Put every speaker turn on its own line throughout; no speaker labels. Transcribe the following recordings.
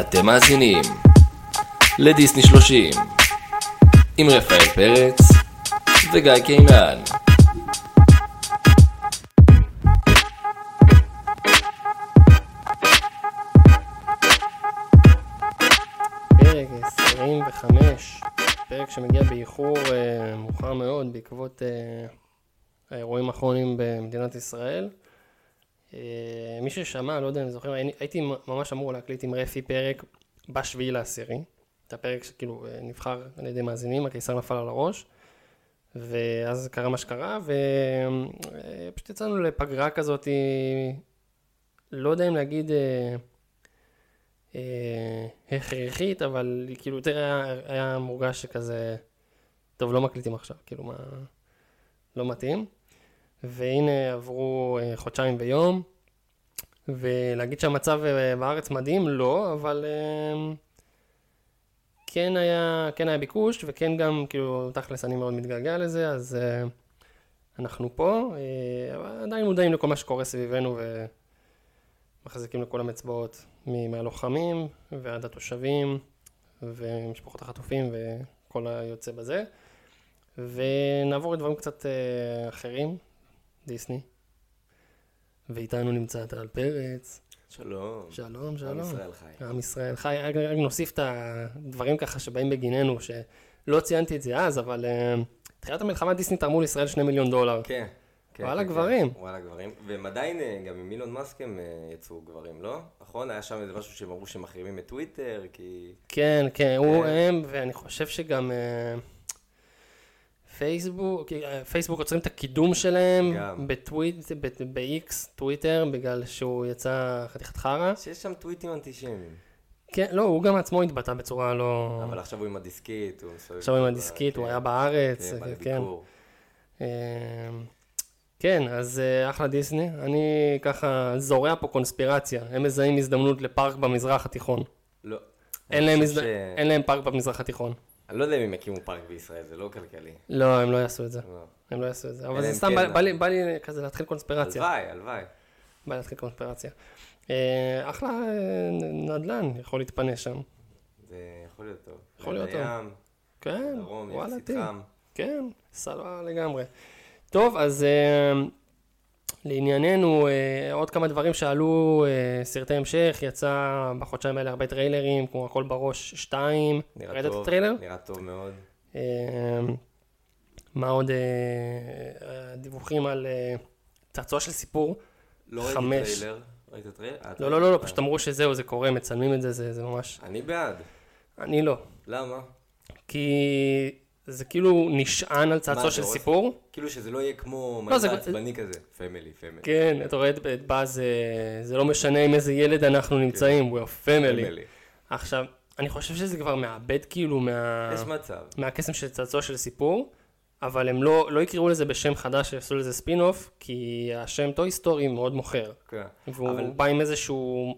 אתם מאזינים לדיסני 30 עם רפאל פרץ וגיא קינן.
פרק 25, פרק שמגיע באיחור אה, מאוחר מאוד בעקבות אה, האירועים האחרונים במדינת ישראל. אה, מי ששמע, לא יודע אם זוכר, אני- הייתי מ- ממש אמור להקליט עם רפי פרק בשביעי לעשירי. את הפרק שכאילו אה, נבחר על ידי מאזינים, הקיסר נפל על הראש. ואז קרה מה שקרה, ופשוט יצאנו לפגרה כזאת, אה, לא יודע אם להגיד... אה, אה, הכרחית, אבל היא כאילו יותר היה, היה מורגש שכזה, טוב, לא מקליטים עכשיו, כאילו מה, לא מתאים. והנה עברו אה, חודשיים ויום, ולהגיד שהמצב אה, בארץ מדהים, לא, אבל אה, כן היה, כן היה ביקוש, וכן גם, כאילו, תכלס אני מאוד מתגעגע לזה, אז אה, אנחנו פה, אה, אבל עדיין מודעים לכל מה שקורה סביבנו, ו... מחזיקים לכל המצבעות מ- מהלוחמים ועד התושבים ומשפחות החטופים וכל היוצא בזה. ונעבור לדברים קצת אה, אחרים, דיסני. ואיתנו נמצא טל פרץ.
שלום.
שלום, כן,
עם
שלום.
ישראל חי.
עם ישראל חי, רק, רק נוסיף את הדברים ככה שבאים בגיננו, שלא ציינתי את זה אז, אבל אה, תחילת המלחמה דיסני תרמו לישראל שני מיליון דולר.
כן. כן,
וואלה,
כן,
גברים.
כן. וואלה גברים, והם עדיין, אה, גם עם אילון מאסק הם אה, יצאו גברים, לא? נכון? היה שם איזה משהו שהם אמרו שמחרימים את טוויטר, כי...
כן, כן, הוא הם, ואני חושב שגם אה, פייסבוק, כי, אה, פייסבוק עוצרים את הקידום שלהם
גם.
בטוויט, ב-X, טוויטר, בגלל שהוא יצא חתיכת חרא.
שיש שם טוויטים אנטישמיים.
כן, לא, הוא גם עצמו התבטא בצורה לא...
אבל עכשיו הוא עם הדיסקית, הוא מסובב...
עכשיו עם
כל ה-
הדיסקית, הוא
כן,
היה בארץ,
כן, בא
כן.
לביקור.
אה, כן, אז אה, אחלה דיסני. אני ככה זורע פה קונספירציה. הם מזהים הזדמנות לפארק במזרח התיכון.
לא.
אין
אני
להם,
חושב
הזד...
ש-
אין להם פארק במזרח התיכון.
אני לא יודע אם הם יקימו פארק בישראל, זה לא כלכלי.
לא, הם לא יעשו את זה.
לא.
הם לא יעשו את זה. אבל
אלא
זה
אם
סתם,
כן,
בא-
אבל-
בא לי- בא לי כזה להתחיל קונספירציה.
הלוואי, הלוואי.
בא לי להתחיל קונספירציה. אה, אחלה אה, נ- נדל"ן, יכול להתפנס שם.
זה יכול להיות טוב.
יכול להיות טוב.
לים,
כן,
דרום,
וואלה,
יחסית
טיל.
חם.
כן, סלווה לגמרי. טוב, אז אה, לענייננו, אה, עוד כמה דברים שעלו, אה, סרטי המשך, יצא בחודשיים האלה הרבה טריילרים, כמו הכל בראש 2.
נראה
ראית את
טוב,
הטריילר?
נראה טוב מאוד.
אה, מה עוד? אה, הדיווחים על אה, צעצוע של סיפור.
לא ראיתי
חמש.
טריילר. ראית טריילר? אה,
לא,
טריילר.
לא, לא, לא, פשוט אמרו שזהו, זה קורה, מצלמים את זה, זה, זה ממש...
אני בעד.
אני לא.
למה?
כי זה כאילו נשען על צעצוע
מה,
של
זה עוד?
סיפור.
כאילו שזה לא יהיה כמו
לא, זה-
מלכה עצבני כזה. פמילי, פמילי.
כן, אתה רואה את- את באז, אה, זה לא משנה עם איזה ילד אנחנו נמצאים, we are family. עכשיו, אני חושב שזה כבר מאבד כאילו מה...
יש מצב.
מהקסם של צעצוע של סיפור, אבל הם לא, לא יקראו לזה בשם חדש, יעשו לזה ספין אוף, כי השם טוי סטורי מאוד מוכר.
כן.
והוא
אבל-
בא עם איזשהו,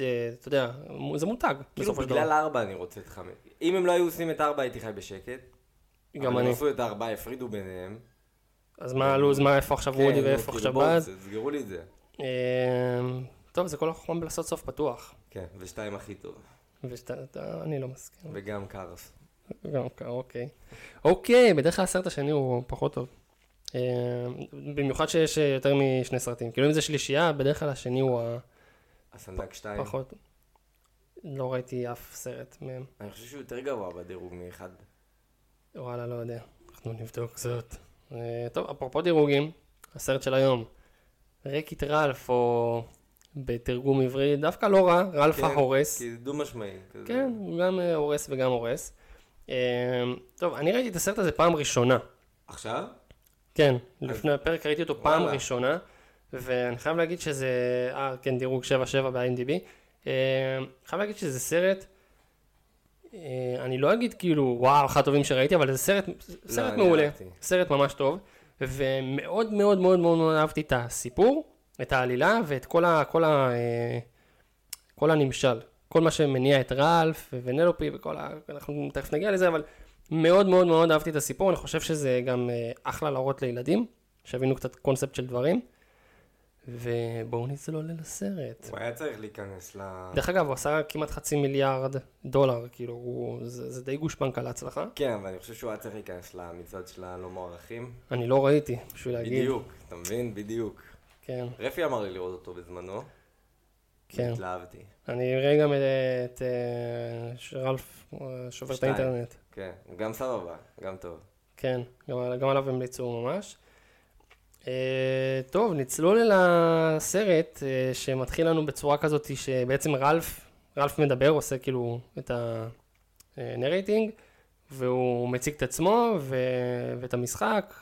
אה, אתה יודע, זה מותג,
כאילו
בסופו של דבר.
בגלל ארבע אני רוצה את חמש. אם הם לא היו עושים את ארבע הייתי חי בשקט.
גם
אבל הם
אני.
עשו את הארבע, הפרידו ביניהם.
אז מה הלו"ז, מה איפה עכשיו רודי
אה, כן, נו,
ואיפה
כאילו,
עכשיו
בואו,
באז?
תסגרו לי את זה.
אמ, טוב, זה כל החוכמה בלעשות סוף פתוח.
כן, ושתיים הכי טוב.
אה. ושאתה, אתה- אני לא מסכים.
וגם קארס.
גם ככה, אוקיי. אוקיי, בדרך כלל הסרט השני הוא פחות טוב. אמ, במיוחד שיש אה, יותר משני סרטים. כאילו אם זה שלישייה, בדרך כלל השני הוא
הסנדק שתיים.
הפחות. לא ראיתי אף סרט מהם.
אני חושב שהוא יותר גבוה בדירוג מאחד.
וואלה, לא יודע. אנחנו נבדוק זאת. אה, טוב, אפרופו דירוגים, הסרט של היום. רקית רלף, או בתרגום עברי, דווקא לא רע, רלף
כן,
ההורס.
כי זה דו משמעי. כזה.
כן, הוא גם אה, הורס וגם הורס. אה, טוב, אני ראיתי את הסרט הזה פעם ראשונה.
עכשיו?
כן, לפני הפרק ראיתי אותו פעם
וואלה.
ראשונה, ואני חייב להגיד שזה, אה, כן, דירוג 7-7 ב-IMDb. אה, חייב להגיד שזה סרט, אה, אני לא אגיד כאילו, וואו, אחד הטובים שראיתי, אבל זה סרט, סרט
לא, אני
מעולה,
אהבתי.
סרט ממש טוב, ומאוד מאוד מאוד מאוד מאוד אהבתי את הסיפור, את העלילה, ואת כל ה... כל ה אה, כל הנמשל, כל מה שמניע את ראלף ונלופי וכל ה... אנחנו תכף נגיע לזה, אבל מאוד מאוד מאוד אהבתי את הסיפור, אני חושב שזה גם אה, אחלה להראות לילדים, שיבינו קצת קונספט של דברים. ובואו נצלול אל הסרט.
הוא היה צריך להיכנס ל...
דרך אגב, הוא עשה כמעט חצי מיליארד דולר, כאילו, הוא, זה, זה די גושפנק על ההצלחה.
כן, אבל אני חושב שהוא היה צריך להיכנס למצעד של הלא מוערכים.
אני לא ראיתי, בשביל להגיד.
בדיוק, אתה מבין? בדיוק.
כן,
רפי אמר לי לראות אותו בזמנו.
כן.
התלהבתי.
אני אראה גם את- את אה, שרלף אה, שובר את
שתיים.
האינטרנט.
כן, הוא גם סבבה, גם טוב.
כן, גם, על- גם עליו המליצו ממש. אה, טוב, נצלול אל הסרט אה, שמתחיל לנו בצורה כזאת שבעצם רלף, רלף מדבר, עושה כאילו את הנרייטינג, והוא מציג את עצמו ו... ואת המשחק.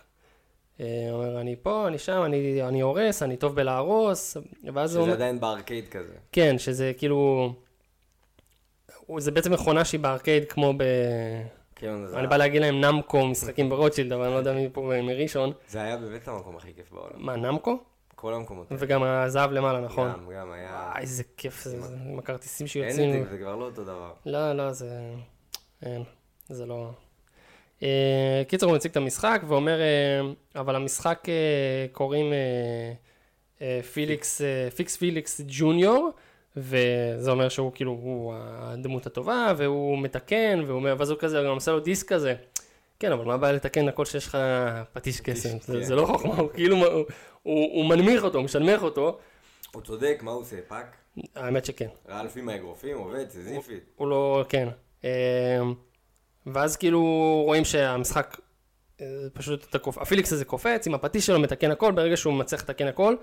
אה, אומר, אני פה, אני שם, אני, אני הורס, אני טוב בלהרוס, ואז הוא
שזה
אומר...
עדיין בארקייד כזה.
כן, שזה כאילו... הוא- זה בעצם מכונה שהיא בארקייד כמו ב...
כן, זה-
אני בא להגיד להם נמקו, משחקים ברוטשילד, אבל אני לא יודע מי פה מראשון.
זה היה באמת המקום הכי כיף בעולם.
מה, נמקו?
כל המקומות.
וגם הזהב למעלה, נכון?
גם, גם היה...
וואי, איזה כיף זה, זה, עם הכרטיסים
אין
שיוצאים.
את זה, זה כבר לא אותו דבר.
לא, לא, זה... אין, זה לא... אה, קיצור, הוא מציג את המשחק ואומר, אה, אבל המשחק אה, קוראים אה, אה, פיליקס, אה, פיקס פיליקס ג'וניור, וזה אומר שהוא כאילו, הוא הדמות הטובה, והוא מתקן, והוא אומר, ואז הוא כזה, גם עושה לו דיסק כזה. כן, אבל מה הבעיה לתקן הכל שיש לך פטיש קסם? זה-
כן.
זה לא חוכמה, הוא כאילו, הוא- הוא הוא מנמיך אותו, הוא משנמך אותו.
הוא צודק, מה הוא עושה? פאק?
האמת שכן.
רעלף עם האגרופים, עובד, סיזיפית.
הוא לא, כן. אמ, ואז כאילו רואים שהמשחק, אה, פשוט אתה קופ... הפיליקס הזה קופץ עם הפטיש שלו, מתקן הכל, ברגע שהוא מצליח לתקן הכל,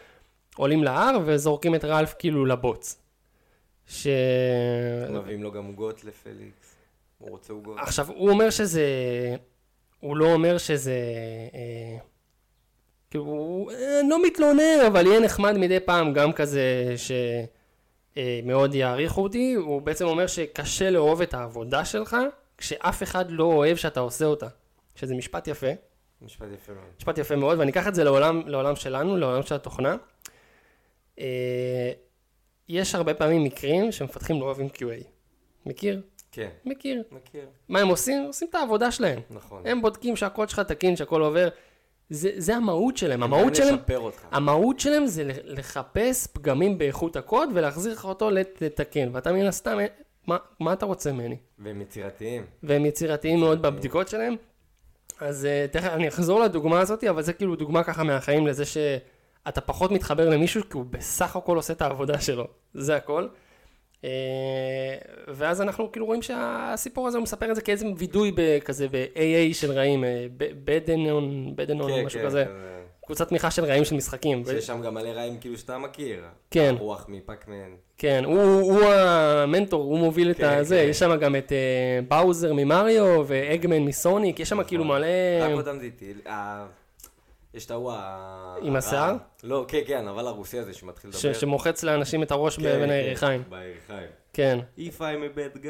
עולים להר וזורקים את רלף כאילו לבוץ. ש... אה.
מביאים לו גם עוגות לפליקס. הוא רוצה עוגות.
עכשיו, הוא אומר שזה... הוא לא אומר שזה... אה, כאילו, הוא אה, לא מתלונן, אבל יהיה נחמד מדי פעם גם כזה ש... אה, מאוד יעריכו אותי, הוא בעצם אומר שקשה לאהוב את העבודה שלך כשאף אחד לא אוהב שאתה עושה אותה. שזה משפט יפה,
משפט יפה מאוד.
משפט יפה מאוד, ואני אקח את זה לעולם, לעולם שלנו, לעולם של התוכנה. אה, יש הרבה פעמים מקרים שמפתחים לא אוהבים QA. מכיר?
כן,
מכיר.
מכיר.
מה הם עושים? עושים את העבודה שלהם.
נכון.
הם בודקים שהקוד שלך תקין, שהכל עובר. זה, זה המהות שלהם. המהות שלהם,
לשפר אותך.
המהות שלהם זה לח- לחפש פגמים באיכות הקוד ולהחזיר לך אותו לת- לתקן. ואתה מן הסתם, אה, מה, מה אתה רוצה ממני?
והם יצירתיים.
והם יצירתיים מאוד בבדיקות שלהם. אז אה, תכף אני אחזור לדוגמה הזאת, אבל זה כאילו דוגמה ככה מהחיים לזה שאתה פחות מתחבר למישהו כי הוא בסך הכל עושה את העבודה שלו, זה הכל. אה, ואז אנחנו כאילו רואים שהסיפור הזה הוא מספר את זה כאיזה וידוי ב- כזה ב-AA של רעים, אה, ב- בדנון, בדנון,
כן,
משהו
כן,
כזה,
כזה.
קבוצת תמיכה של רעים של משחקים. ו-
שיש שם גם מלא רעים כאילו שאתה מכיר.
כן.
רוח מפאקמן.
כן, הוא, הוא המנטור, הוא מוביל את
כן,
הזה,
כן.
יש שם גם את אה, באוזר ממריו ואגמן מסוניק, יש שם כאילו מלא...
נכון. רק אותם זיתי. אה, יש את ההוא ה...
עם השיער?
לא, כן, כן, אבל הרוסי הזה שמתחיל
ש-
לדבר.
שמוחץ לאנשים את הראש
כן,
בין
כן,
הירכיים.
בירכיים.
כן.
If I'm a bad guy,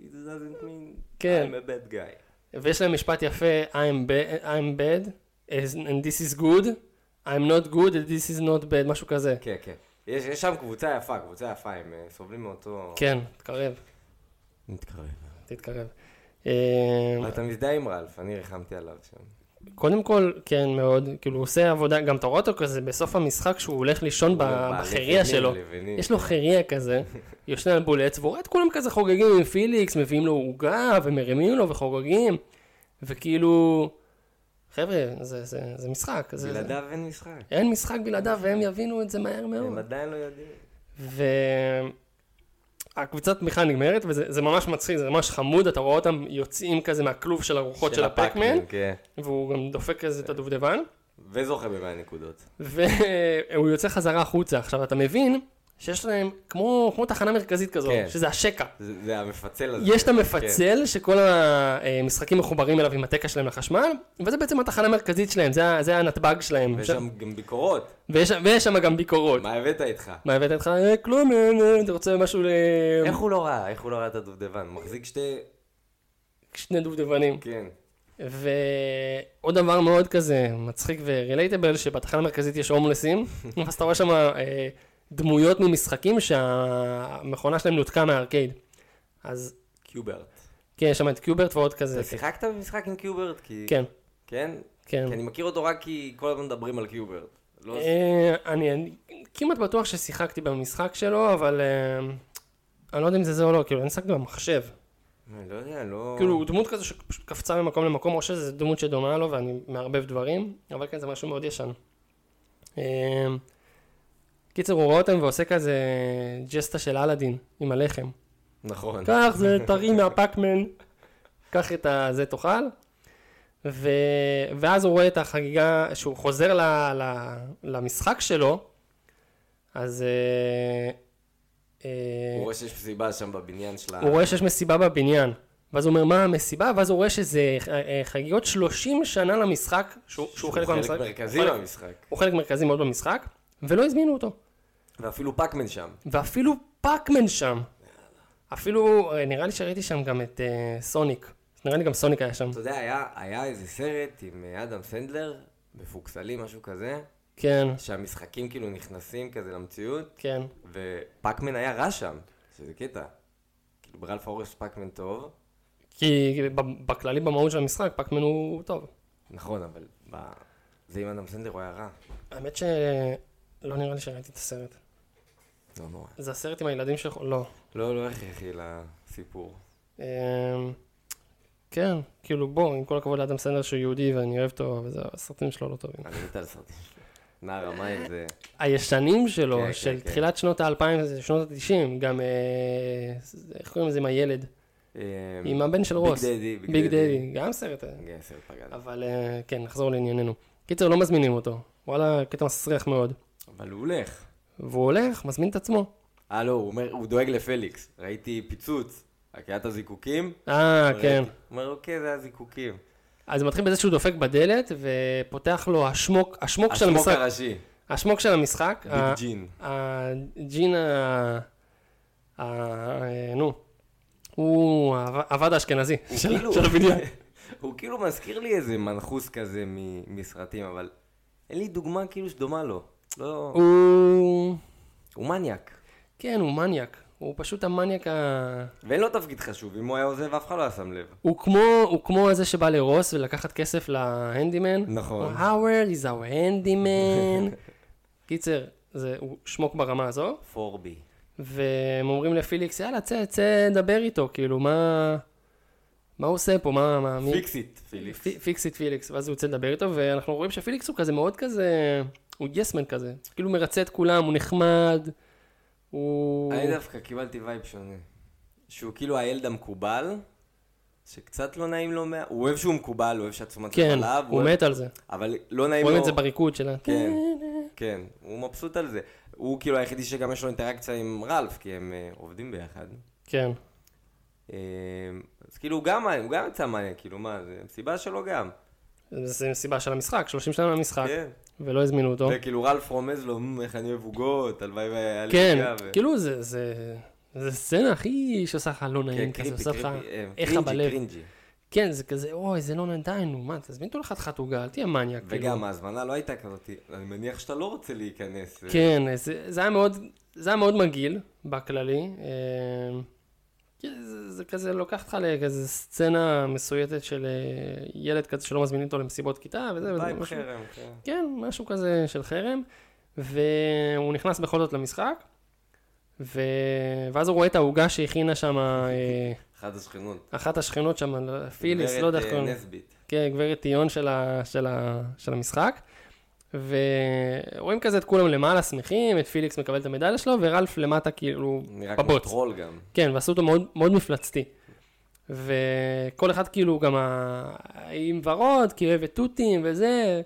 it doesn't mean
כן.
I'm a bad guy.
ויש להם משפט יפה, I'm ba- I'm bad, as- and this is good, I'm not good, and this is not bad, משהו כזה.
כן, כן. יש יש שם קבוצה יפה, קבוצה יפה, הם אה, סובלים מאותו...
כן, תתקרב,
נתקרב.
תתקרב. אה,
אבל אתה מזדהה עם רלף, אני ריחמתי עליו שם.
קודם כל, כן, מאוד, כאילו הוא עושה עבודה, גם אתה רואה אותו כזה בסוף המשחק שהוא הולך לישון ב-
הוא אומר, "בעלי
בחירייה
לבנים,
שלו.
לבנים."
יש לו חירייה כזה, יושן על בול עץ, והוא רואה את כולם כזה חוגגים עם פיליקס, מביאים לו עוגה, ומרימים לו וחוגגים, וכאילו, חבר'ה, זה, זה, זה משחק. זה, זה,
בלעדיו אין משחק.
אין משחק בלעדיו, והם יבינו את זה מהר מאוד.
הם עדיין לא יודעים.
והקבוצת תמיכה נגמרת, וזה זה ממש מצחיק, זה ממש חמוד, אתה רואה אותם יוצאים כזה מהכלוב של הרוחות של הפקמן,
הפאקמן, כן.
והוא גם דופק כזה את הדובדבן.
וזוכה במאה נקודות.
והוא יוצא חזרה החוצה. עכשיו, אתה מבין שיש להם כמו, כמו תחנה מרכזית כזו, כן.
כן.
שזה השקע.
זה זה המפצל הזה.
יש את המפצל
כן.
שכל המשחקים מחוברים אליו עם התקע שלהם לחשמל, וזה בעצם התחנה המרכזית שלהם, זה, ה- זה הנתב"ג שלהם.
ויש שם גם ביקורות.
ויש, ויש שם גם ביקורות.
מה הבאת איתך?
מה הבאת לך? "אה, כלום, אה, אה, אתה רוצה משהו ל...
איך הוא לא ראה? איך הוא לא ראה את הדובדבן? הוא מחזיק שתי...
שני דובדבנים.
כן.
ועוד דבר מאוד כזה מצחיק ורילייטבל, שבתחנה המרכזית יש הומלסים, ואז אתה רואה שם אה, דמויות ממשחקים שהמכונה שלהם נותקה מהארקייד. אז
קיוברט.
כן, יש שם את קיוברט ועוד כזה.
אתה שיחקת במשחק עם קיוברט? כי...
כן,
כן?
כן.
כי אני מכיר אותו רק כי כל הזמן מדברים על קיוברט. לא...
אה, אני, אני- כמעט בטוח ששיחקתי במשחק שלו, אבל אה, אני לא יודע אם זה זה או לא, כאילו, אני משחק במחשב.
אני לא יודע, לא...
כאילו, הוא דמות כזה שפשוט קפצה ממקום למקום, או שזו דמות שדומה לו ואני מערבב דברים, אבל כן, זה משהו מאוד ישן. אה, קיצר, הוא רואה אותם ועושה כזה ג'סטה של אלאדין עם הלחם.
נכון.
קח, זה טרי מהפקמן, קח את הזה, תאכל. ו... ואז הוא רואה את החגיגה, שהוא חוזר ל... ל... למשחק שלו, אז אה, אה,
הוא רואה שיש מסיבה שם בבניין של ה...
הוא רואה שיש מסיבה בבניין. ואז הוא אומר, מה המסיבה? ואז הוא רואה שזה אה, אה, חגיגות 30 שנה למשחק, שהוא, שהוא חלק מהמשחק.
חלק מרכזי
הוא חלק-
במשחק.
הוא חלק מרכזי מאוד במשחק, ולא הזמינו אותו.
ואפילו פאקמן שם.
ואפילו פאקמן שם. אפילו, אה, נראה לי שראיתי שם גם את אה, סוניק. נראה לי גם סוניק היה שם.
אתה יודע, היה- היה איזה סרט עם אה, אדם סנדלר, מפוקסלי, משהו כזה,
כן,
שהמשחקים כאילו נכנסים כזה למציאות,
כן.
ופאקמן היה רע שם, שזה קטע. כאילו ברלף אורס פאקמן טוב,
כי ב- בכללי במהות של המשחק, פאקמן הוא טוב.
נכון, אבל ב... זה עם אדם סנדלר הוא היה רע.
האמת שלא נראה לי שראיתי את הסרט.
לא נורא.
זה הסרט עם הילדים של... לא.
לא, לא הכרחי לסיפור.
אמ, כן, כאילו בוא, עם כל הכבוד לאדם סנדר שהוא יהודי ואני אוהב אותו, אבל זה- הסרטים שלו לא טובים.
אני מת על סרטים. שלו. נער המים זה...
הישנים שלו,
כן, כן,
של
כן.
תחילת שנות האלפיים, זה שנות התשעים, גם אה, איך קוראים לזה עם הילד?
אה,
עם הבן של רוס.
ביג דדי,
ביג דדי, גם סרט. אה.
כן, סרט פגז.
אבל אה, כן, נחזור לענייננו. קיצר, לא מזמינים אותו. וואלה, קטע מסריח מאוד.
אבל הוא הולך.
והוא הולך, מזמין את עצמו.
אה, לא, הוא אומר, הוא דואג לפליקס. ראיתי פיצוץ, הקהיית הזיקוקים.
אה, כן.
ראיתי. הוא אומר, אוקיי, זה הזיקוקים.
אז זה מתחיל בזה שהוא דופק בדלת ופותח לו השמוק, השמוק של
השמוק
המשחק. אה,
הראשי,
השמוק של המשחק. ה-
ביג ג'ין.
הג'ין ה... ה... אה, נו, הוא הוו- הוועד האשכנזי
הוא
של
כאילו-
של הבניין.
הוא כאילו מזכיר לי איזה מנחוס כזה מ- מסרטים, אבל אין לי דוגמה כאילו שדומה לו. לא...
הוא...
הוא מניאק.
כן, הוא מניאק. הוא פשוט המניאק ה...
ואין לו תפקיד חשוב, אם הוא היה עוזב, אף אחד לא היה שם לב.
הוא כמו, הוא כמו זה שבא לרוס ולקחת כסף להנדימן.
נכון.
האוורד is our handyman. קיצר, זה, הוא שמוק ברמה הזו.
פורבי.
והם אומרים לפיליקס, יאללה, צא, צא, דבר איתו, כאילו, מה... מה הוא עושה פה? מה... מה מי-
פיקסיט, פיליקס.
פי- פיקס את פיליקס, ואז הוא יוצא לדבר איתו, ואנחנו רואים שפיליקס הוא כזה מאוד כזה, הוא יסמן כזה, כאילו מרצה את כולם, הוא נחמד, הוא...
אני דווקא קיבלתי וייב שונה. שהוא כאילו הילד המקובל, שקצת לא נעים לו מה... הוא אוהב שהוא מקובל, הוא אוהב שהתשומת לב
כן,
עליו,
הוא
אוהב-
מת על זה.
אבל לא נעים לו...
רואים את זה בריקוד שלה.
כן, כן, הוא מבסוט על זה. הוא כאילו היחידי שגם יש לו אינטראקציה עם רלף, כי הם אה, עובדים ביחד.
כן.
אה, אז כאילו הוא גם, הוא גם יצא מעניין, כאילו מה, זה מסיבה שלו גם.
זו סיבה של המשחק, 30 שנה למשחק,
כן.
ולא הזמינו אותו.
וכאילו רלף רומז לו, "מ, איך אני אוהב עוגות, הלוואי והיה לי
כן,
עוגה", ו-
כאילו זה, זה, זה סצנה הכי שעושה לך לא
כן,
נעים, כזה עושה לך,
אה,
איך
קרינג'י,
בלב.
קרינג'י.
כן, זה כזה, אוי, זה לא נדע, נו, מה, תזמין אותו לחתיכת עוגה, אל תהיה מניאק. כאילו.
וגם ההזמנה לא הייתה כזאת, אני מניח שאתה לא רוצה להיכנס. אה,
כן, זה, זה היה מאוד, זה היה מאוד מגעיל, בכללי. אה, כן, זה, זה כזה לוקח אותך לכזה סצנה מסויטת של אה, ילד כזה שלא מזמינים אותו למסיבות כיתה וזה, וזה
וייב
משהו,
חרם, כן.
כן, משהו כזה של חרם, והוא נכנס בכל זאת למשחק, ו... ואז הוא רואה את העוגה שהכינה שם אה,
אחת השכנות.
אחת השכנות שם, פיליס, לא יודע איך קוראים
גברת
לה.
אה, נסבית.
כן, גברת טיון של, ה, של, ה, של המשחק. ורואים כזה את כולם למעלה שמחים, את פיליקס מקבל את המדליה שלו, ורלף למטה כאילו
נראה כמו
בבוץ.
טרול גם.
כן, ועשו אותו מאוד, מאוד מפלצתי. וכל אחד כאילו גם ה... עם ורוד, כי אוהב את תותים וזה,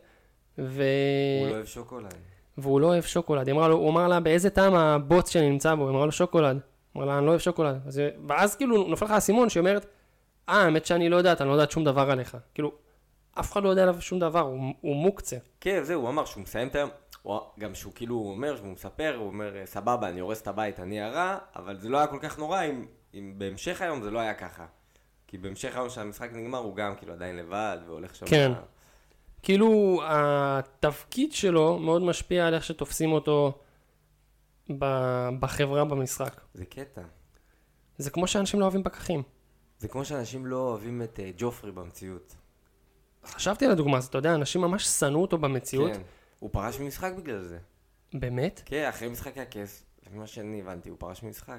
ו... אה,
הוא לא אוהב שוקולד.
והוא לא אוהב שוקולד. היא אמרה לו, הוא אמר לה, באיזה טעם הבוץ שאני נמצא בו? היא אמרה לו, שוקולד. הוא אמר לה, אני לא אוהב שוקולד. אז... היא- ואז כאילו נופל לך האסימון שהיא אומרת, אה, האמת שאני לא יודעת, אני לא יודעת שום דבר עליך. כאילו, אף אחד לא יודע עליו שום דבר, הוא, הוא מוקצה.
כן, זהו, הוא אמר שהוא מסיים את היום. הוא- גם שהוא כאילו אומר, שהוא מספר, הוא אומר, סבבה, אני הורס את הבית, אני הרע, אבל זה לא היה כל כך נורא אם- אם בהמשך היום זה לא היה ככה. כי בהמשך היום שהמשחק נגמר, הוא גם כאילו עדיין לבד, והולך שם...
כן. כאילו, התפקיד שלו מאוד משפיע על איך שתופסים אותו ב- בחברה, במשחק.
זה קטע.
זה כמו שאנשים לא אוהבים פקחים.
זה כמו שאנשים לא אוהבים את אה, ג'ופרי במציאות.
חשבתי על הדוגמה הזאת, אתה יודע, אנשים ממש שנאו אותו במציאות,
כן. הוא פרש ממשחק בגלל זה.
באמת?
כן, אחרי משחק הכס, ממה שאני הבנתי, הוא פרש ממשחק.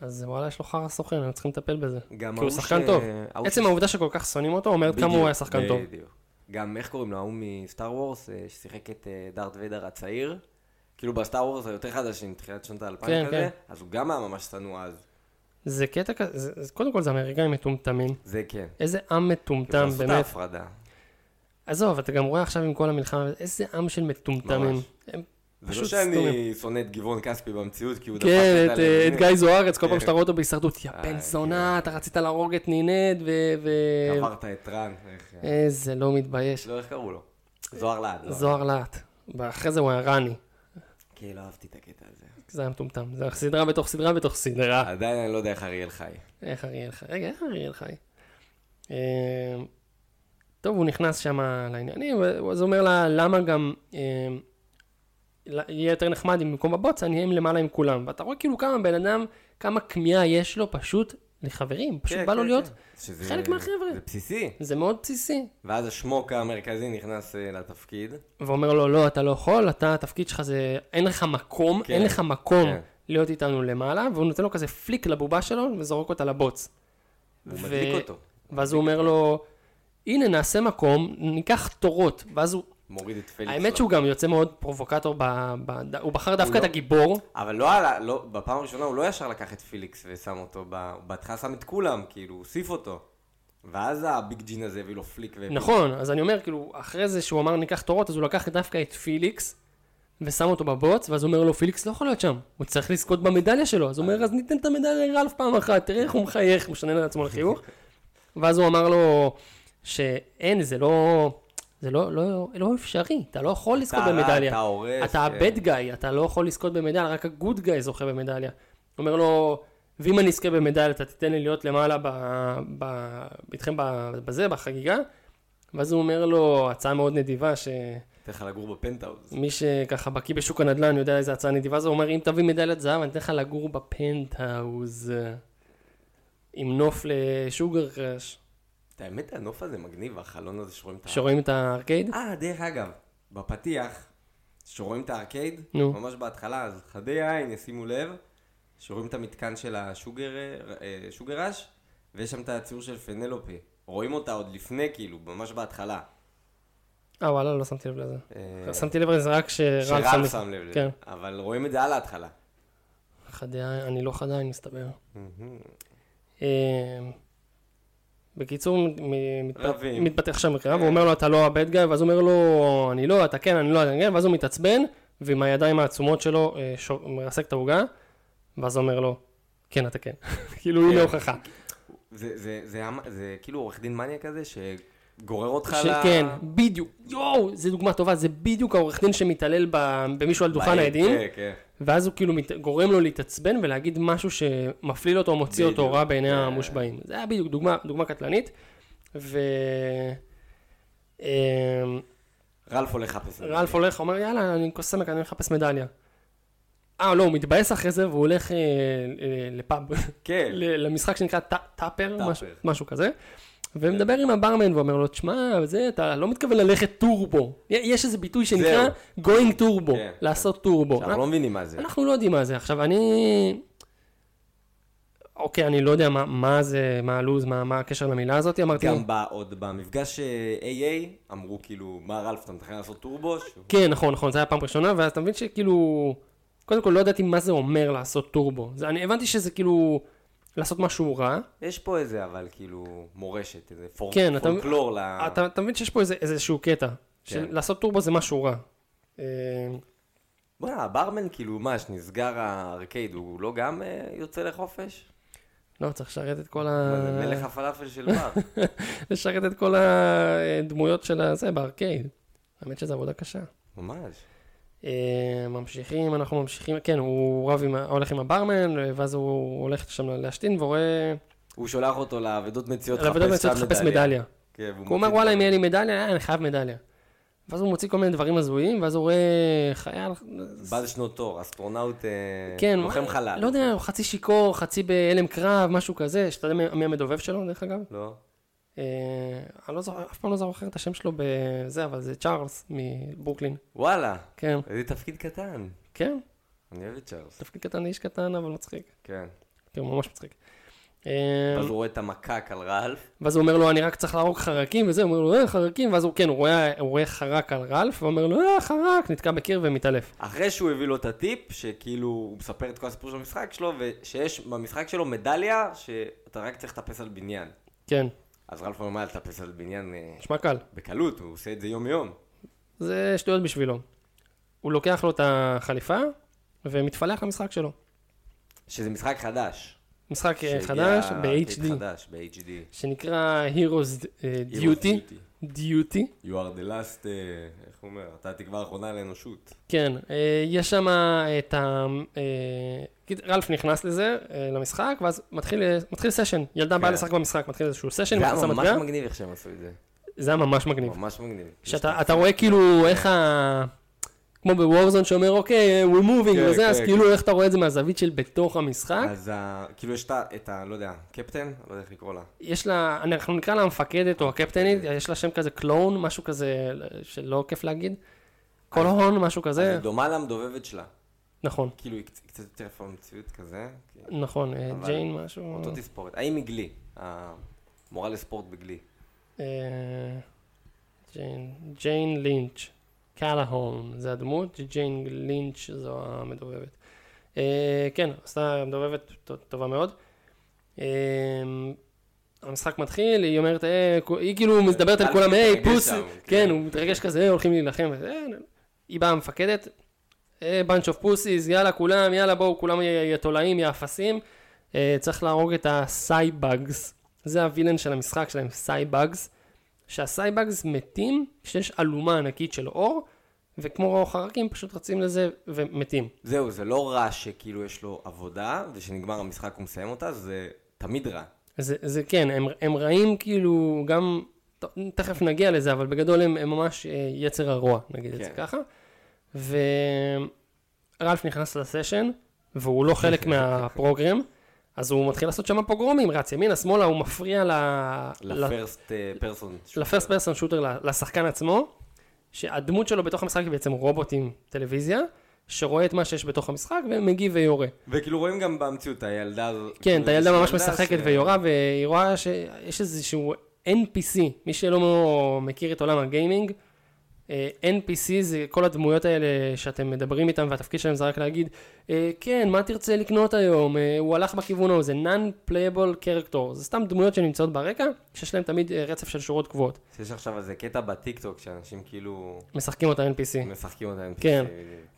אז וואלה, יש לו חרא סוכן, הם צריכים לטפל בזה.
גם
כי הוא
ההוא
שחקן
ש-
טוב.
ההוא
עצם
ש-
העובדה שכל כך שונאים אותו, אומרת כמה
בדיוק,
הוא היה שחקן טוב.
בדיוק. גם איך קוראים לו, ההוא מסטאר וורס, אה, ששיחק את אה, דארט ויידר הצעיר, כאילו בסטאר וורס היותר חדשים, תחילת שנות האלפיים
כן,
כזה,
כן.
אז הוא גם היה ממש שנוא אז.
זה קטע כזה, זה- זה- קודם כל זה אמריקאים מטומטמים.
זה כן.
איזה עם
כי
מטומטם,
הוא עשו את
באמת.
ההפרדה.
עזוב, אתה גם רואה עכשיו עם כל המלחמה, איזה עם של מטומטמים.
ממש.
הם
זה לא
פשוט סתומים.
שאני שונא את גבעון כספי במציאות, כי הוא דפק
כן,
את
את, אה, את גיא זוארץ, כל
כן.
פעם שאתה רואה אותו בהישרדות, יא
אה,
בן
כן. נכון.
זונה, אתה רצית להרוג את נינד, ו... ו-
עברת את רן. איך- אה,
איזה לא מתבייש.
לא, איך קראו לו? זוהר לעד. לא.
זוהר להט. ואחרי זה הוא היה רני.
כן, לא אהבתי את הקטע הזה.
זה היה מטומטם. זה סדרה בתוך סדרה בתוך סדרה.
עדיין אני לא יודע איך אריאל חי.
איך אריאל חי? רגע, איך אריאל חי? אה, טוב, הוא נכנס שם לעניינים, אז הוא אומר לה, למה גם אה, לה- יהיה יותר נחמד אם במקום בבוץ אני אהיה עם למעלה עם כולם. ואתה רואה כאילו כמה בן אדם, כמה כמיהה יש לו פשוט לחברים, פשוט
כן,
בא לו
כן,
להיות,
כן. שזה-
חלק מהחבר'ה.
זה בסיסי.
זה מאוד בסיסי.
ואז השמוק המרכזי נכנס אה, לתפקיד.
ואומר לו, לא, אתה לא יכול, אתה, התפקיד שלך זה, אין לך מקום,
כן,
אין לך מקום
כן.
להיות איתנו למעלה, והוא נותן לו כזה פליק לבובה שלו וזורק אותה לבוץ.
הוא
ו-
מדליק אותו.
ואז הוא אומר לו, הנה נעשה מקום, ניקח תורות, ואז הוא,
מוריד את פליקס.
האמת
לו.
שהוא גם יוצא מאוד פרובוקטור, ב, ב, הוא בחר דווקא את
לא-
הגיבור,
אבל לא, עלה- לא, בפעם הראשונה הוא לא ישר לקח את פיליקס ושם אותו, ב... הוא בהתחלה שם את כולם, כאילו, הוא הוסיף אותו. ואז הביג ג'ין הזה הביא לו פליק. והפיל.
נכון, אז אני אומר, כאילו, אחרי זה שהוא אמר ניקח תורות, אז הוא לקח דווקא את פיליקס, ושם אותו בבוץ, ואז הוא אומר לו, פיליקס לא יכול להיות שם, הוא צריך לזכות במדליה שלו, אז הוא אומר, אז ניתן את המדליה לרלף פעם אחת, תראה איך הוא מחייך, הוא משנה לעצמו לחיוך, ואז הוא אמר לו, שאין, זה לא... זה לא, לא, לא אפשרי, אתה לא יכול לזכות
אתה רע,
במדליה.
אתה הורס.
אתה
כן.
הבד גאי, אתה לא יכול לזכות במדליה, רק הגוד גאי זוכה במדליה. הוא אומר לו, ואם אני אזכה במדליה, אתה תיתן לי להיות למעלה ב, ב, איתכם ב, בזה, בחגיגה? ואז הוא אומר לו, הצעה מאוד נדיבה, שמי
אתן לך לגור בפנטהאוז.
שככה בקיא בשוק הנדל"ן יודע איזה הצעה נדיבה זו, הוא אומר, אם תביא מדליית זהב, אני אתן לך לגור בפנטהאוז, עם נוף לשוגר קראש.
את האמת, הנוף הזה מגניב, החלון הזה שרואים את ה...
שרואים את הארקייד?
אה, דרך אגב, בפתיח, שרואים את הארקייד,
נו.
ממש בהתחלה, אז חדי עין ישימו לב, שרואים את המתקן של השוגר אה, שוגר ראש, ויש שם את הציור של פנלופי. רואים אותה עוד לפני, כאילו, ממש בהתחלה.
אה, וואלה, לא שמתי לב לזה.
אה,
שמתי לב לזה רק שרלף
שרן שם לב לזה.
כן.
אבל רואים את זה על ההתחלה.
חדאי, אני לא חדאי, מסתבר. אה, בקיצור, מ- מ- מתפ-
רבים. אה.
מתפתח שם קרב, הוא אומר לו, אתה לא הבד גיא, ואז הוא אומר לו, אני לא, אתה כן, אני לא, אני כן, ואז הוא מתעצבן, ועם הידיים העצומות שלו, אה, שו- מרסק את העוגה, ואז הוא אומר לו, כן, אתה כן. כאילו, הנה הוכחה.
זה- זה- זה המ- זה כאילו עורך דין מניה כזה, שגורר אותך ל...
שכן, כן, בדיוק, יואו, זו דוגמה טובה, זה בדיוק העורך דין שמתעלל ב- במישהו על דוכן
בעיר,
העדים,
כן, כן.
ואז הוא כאילו מת... גורם לו להתעצבן ולהגיד משהו שמפליל אותו, מוציא אותו
בדיוק.
רע בעיני
אה.
המושבעים. זה היה בדיוק דוגמה, דוגמה קטלנית. ו... אמ,
רלף הולך לחפש. את זה.
רלף הולך, אומר יאללה, אני קוסמק, אני מחפש מדליה. אה, לא, הוא מתבאס אחרי זה והוא הולך אה, אה, לפאב,
כן.
ל- למשחק שנקרא טא- טאפר,
טאפר. כן.
משהו- משהו כזה. ומדבר עם הברמן ואומר לו, תשמע, זה, אתה לא מתכוון ללכת טורבו. יש איזה ביטוי שנקרא going טורבו,
כן.
לעשות טורבו.
אנחנו לא מבינים מה זה.
אנחנו לא יודעים מה זה. עכשיו, אני... אוקיי, אני לא יודע מה, מה זה, מה הלו"ז, מה, מה הקשר למילה הזאת, אמרתי...
גם בא עוד במפגש אה, AA, אמרו כאילו, מה רלף, אתה מתכנן לעשות טורבו? שהוא-
כן, נכון, נכון, זה היה פעם ראשונה, ואז אתה מבין שכאילו... קודם כל, לא ידעתי מה זה אומר לעשות טורבו. זה, אני הבנתי שזה כאילו... לעשות משהו רע.
יש פה איזה, אבל כאילו, מורשת, איזה פור-
כן, אתה-
פולקלור ל...
אתה, אתה מבין שיש פה איזה, איזשהו קטע.
כן.
של לעשות טורבו זה משהו רע. אה,
בוא'נה, הברמן כאילו, מה, שנסגר הארקייד, הוא לא גם אה, יוצא לחופש?
לא, צריך לשרת את כל
מה
ה...
זה, מלך הפלאפל של בר.
לשרת את כל הדמויות של הזה בארקייד. האמת שזו עבודה קשה.
ממש.
אה, ממשיכים, אנחנו ממשיכים, כן, הוא רב עם, ה- הולך עם הברמן, ואז הוא הולך שם להשתין ורואה,
הוא שולח אותו לאבדות מציאות
לעבודה מצליח לחפש מדליה.
כן, והוא
הוא אומר,
מוציא
וואלה,
דברים.
אם יהיה לי מדליה, אה, אני חייב מדליה. ואז הוא מוציא כל מיני דברים הזויים, ואז הוא רואה חייל,
בעל שנות תור, אסטרונאוט, אה,
כן,
כן, לוחם
מה-
חלל.
לא יודע, הוא חצי שיכור, חצי בהלם קרב, משהו כזה, שאתה יודע מי- מי המדובב שלו, דרך אגב.
לא?
אה, אני לא זוכר, אף פעם לא זוכר את השם שלו בזה, אבל זה צ'ארלס מברוקלין.
וואלה,
כן.
איזה תפקיד קטן.
כן,
אני אוהב את צ'ארלס,
תפקיד קטן לאיש קטן, אבל מצחיק.
כן.
כאילו, ממש מצחיק. אה,
אז הוא רואה את המקק על רלף,
ואז הוא אומר לו, אני רק צריך להרוג חרקים, וזה, הוא אומר לו, אה, חרקים, ואז הוא, כן, הוא רואה, הוא רואה חרק על רלף, ואומר לו, אה, חרק, נתקע בקיר ומתעלף.
אחרי שהוא הביא לו את הטיפ, שכאילו הוא מספר את כל הסיפור של המשחק שלו, ושיש במשחק שלו מדליה שאתה רק צריך לטפס על בניין.
כן,
אז רלף אומר מה, לטפס על בניין אה,
נשמע קל.
בקלות, הוא עושה את זה יום-יום.
זה שטויות בשבילו. הוא לוקח לו את החליפה, ומתפלח למשחק שלו.
שזה משחק חדש.
משחק אה,
שהגיע
חדש,
עתיד
ב-HD,
חדש, ב-HD.
שנקרא Heroes אה, Duty. Duty.
You are the last, אה, איך הוא אומר? אתה התקווה האחרונה לאנושות.
כן, אה, יש שם את ה... אה, קיד- רלף נכנס לזה, אה, למשחק, ואז מתחיל, אה, מתחיל סשן. ילדה באה
כן.
לשחק במשחק, מתחיל איזשהו
זה
סשן,
היה
נכנסה
ממש
מטבע.
מגניב איך שהם עשו את זה.
זה היה ממש מגניב.
ממש מגניב.
שאתה אתה רואה כאילו איך ה... כמו בוורזון שאומר, אוקיי, we're moving
כן,
וזה, אז
כן,
כאילו איך אתה רואה את זה מהזווית של בתוך המשחק.
אז ה- כאילו יש את ה- את ה... לא יודע, קפטן? לא יודע איך לקרוא לה.
יש לה, אנחנו נקרא לה המפקדת או הקפטנית, יש לה שם כזה קלון, משהו כזה שלא כיף להגיד. קולהון, משהו
אז לא-
כזה.
היא דומה למדובבת שלה.
נכון,
כאילו היא קצ- קצת יותר יפה במציאות כזה. כן.
נכון, אה,
אבל-
ג'יין משהו.
אותו תספורת. האם מגלי? המורה לספורט בגלי.
אה, ג'יין, ג'יין לינץ', קלהון, זה הדמות, ג'יין לינץ' זו המדובבת. אה, כן, עשתה מדובבת ט- טובה מאוד. אה, המשחק מתחיל, היא אומרת, אה, כו- היא כאילו מדברת על
אלף
כולם, היי,
מתרגש
פוס,
שם,
כן,
כן.
הוא מתרגש כזה, "אה, הולכים להילחם, וזה, אה, היא באה המפקדת, bunch of pussies, יאללה כולם, יאללה בואו, כולם י- י- תולעים, יא אפסים. אה, צריך להרוג את הסייבאגס. זה הווילן של המשחק שלהם, סייבאגס. שהסייבאגס מתים כשיש אלומה ענקית של אור, וכמו חרקים פשוט רצים לזה ומתים.
זהו, זה לא רע שכאילו יש לו עבודה, ושנגמר המשחק הוא מסיים אותה, זה תמיד רע.
זה, זה כן, הם, הם רעים כאילו גם, ת- תכף נגיע לזה, אבל בגדול הם, הם ממש אה, יצר הרוע, נגיד כן. את זה
כן.
ככה. ורלף נכנס לסשן, והוא לא חלק מהפרוגרם, אז הוא מתחיל לעשות שם פוגרומים, רץ ימינה, שמאלה, הוא מפריע ל... לא.
לפרסט אה, פרסון.
לפרסט פרסון שוטר, לשחקן עצמו, שהדמות שלו בתוך המשחק היא בעצם רובוט עם טלוויזיה, שרואה את מה שיש בתוך המשחק ומגיב ויורה.
וכאילו רואים גם במציאות, הילדה הזו...
כן, את הילדה
כאילו,
ממש
ילדה
משחקת
ש-
ויורה, והיא רואה שיש איזשהו NPC, מי שלא מכיר את עולם הגיימינג, אה, NPC זה כל הדמויות האלה שאתם מדברים איתם, והתפקיד שלהם זה רק להגיד, אה, כן, מה תרצה לקנות היום? אה, הוא הלך בכיוון ההוא, זה non-playable character, זה סתם דמויות שנמצאות ברקע, שיש להם תמיד אה, רצף של שורות קבועות.
יש עכשיו איזה קטע בטיקטוק, שאנשים כאילו
משחקים אותה NPC.
משחקים אותם.
כן.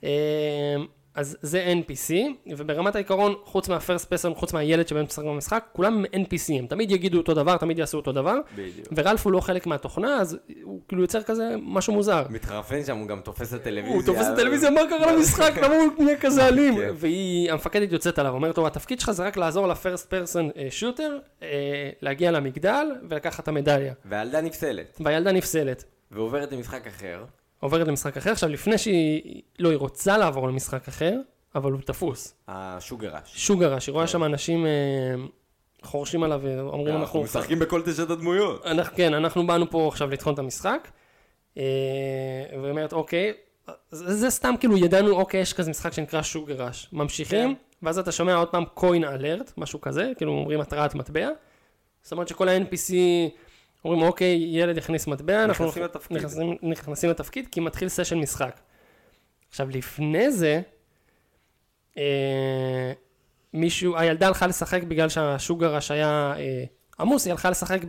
אמ, אז זה NPC, וברמת העיקרון, חוץ מהפרסט פסון, חוץ מהילד שבאמצע משחק במשחק, כולם NPC, הם תמיד יגידו אותו דבר, תמיד יעשו אותו דבר,
בדיוק.
ורלף הוא לא חלק מהתוכנה, אז הוא כאילו יוצר כזה משהו מוזר.
מתחרפן שם, הוא גם תופס את הטלוויזיה.
הוא תופס את הטלוויזיה, מה קרה למשחק, למה הוא נהיה כזה אלים?
כן.
והיא, המפקדת יוצאת עליו, אומרת לו, התפקיד שלך זה רק לעזור לפרסט פרסון שוטר, אה, להגיע למגדל ולקחת את המדליה.
והילדה נפסלת,
והילדה נפסלת.
ועוברת למשחק אחר.
עוברת למשחק אחר, עכשיו לפני שהיא, לא, היא רוצה לעבור למשחק אחר, אבל הוא תפוס.
השוגר ראש.
שוגר ראש, היא
כן.
רואה שם אנשים אה, חורשים עליו ואומרים
אה, אנחנו
אנחנו...
משחקים בכל תשעת הדמויות.
אנחנו, כן, אנחנו באנו פה עכשיו לטחון את המשחק. אה, והיא אומרת, אוקיי, זה, זה סתם כאילו ידענו, אוקיי, יש כזה משחק שנקרא שוגר ראש. ממשיכים,
כן.
ואז אתה שומע עוד פעם coin alert, משהו כזה, כאילו אומרים התרעת מטבע. זאת אומרת שכל ה-NPC אומרים, אוקיי, ילד הכניס מטבע, אנחנו
נכנסים לתפקיד.
נכנסים, נכנסים לתפקיד, כי מתחיל סשן משחק. עכשיו, לפני זה, אה, מישהו, הילדה הלכה לשחק בגלל שהשוגר ראש היה אה, עמוס, היא הלכה לשחק אה,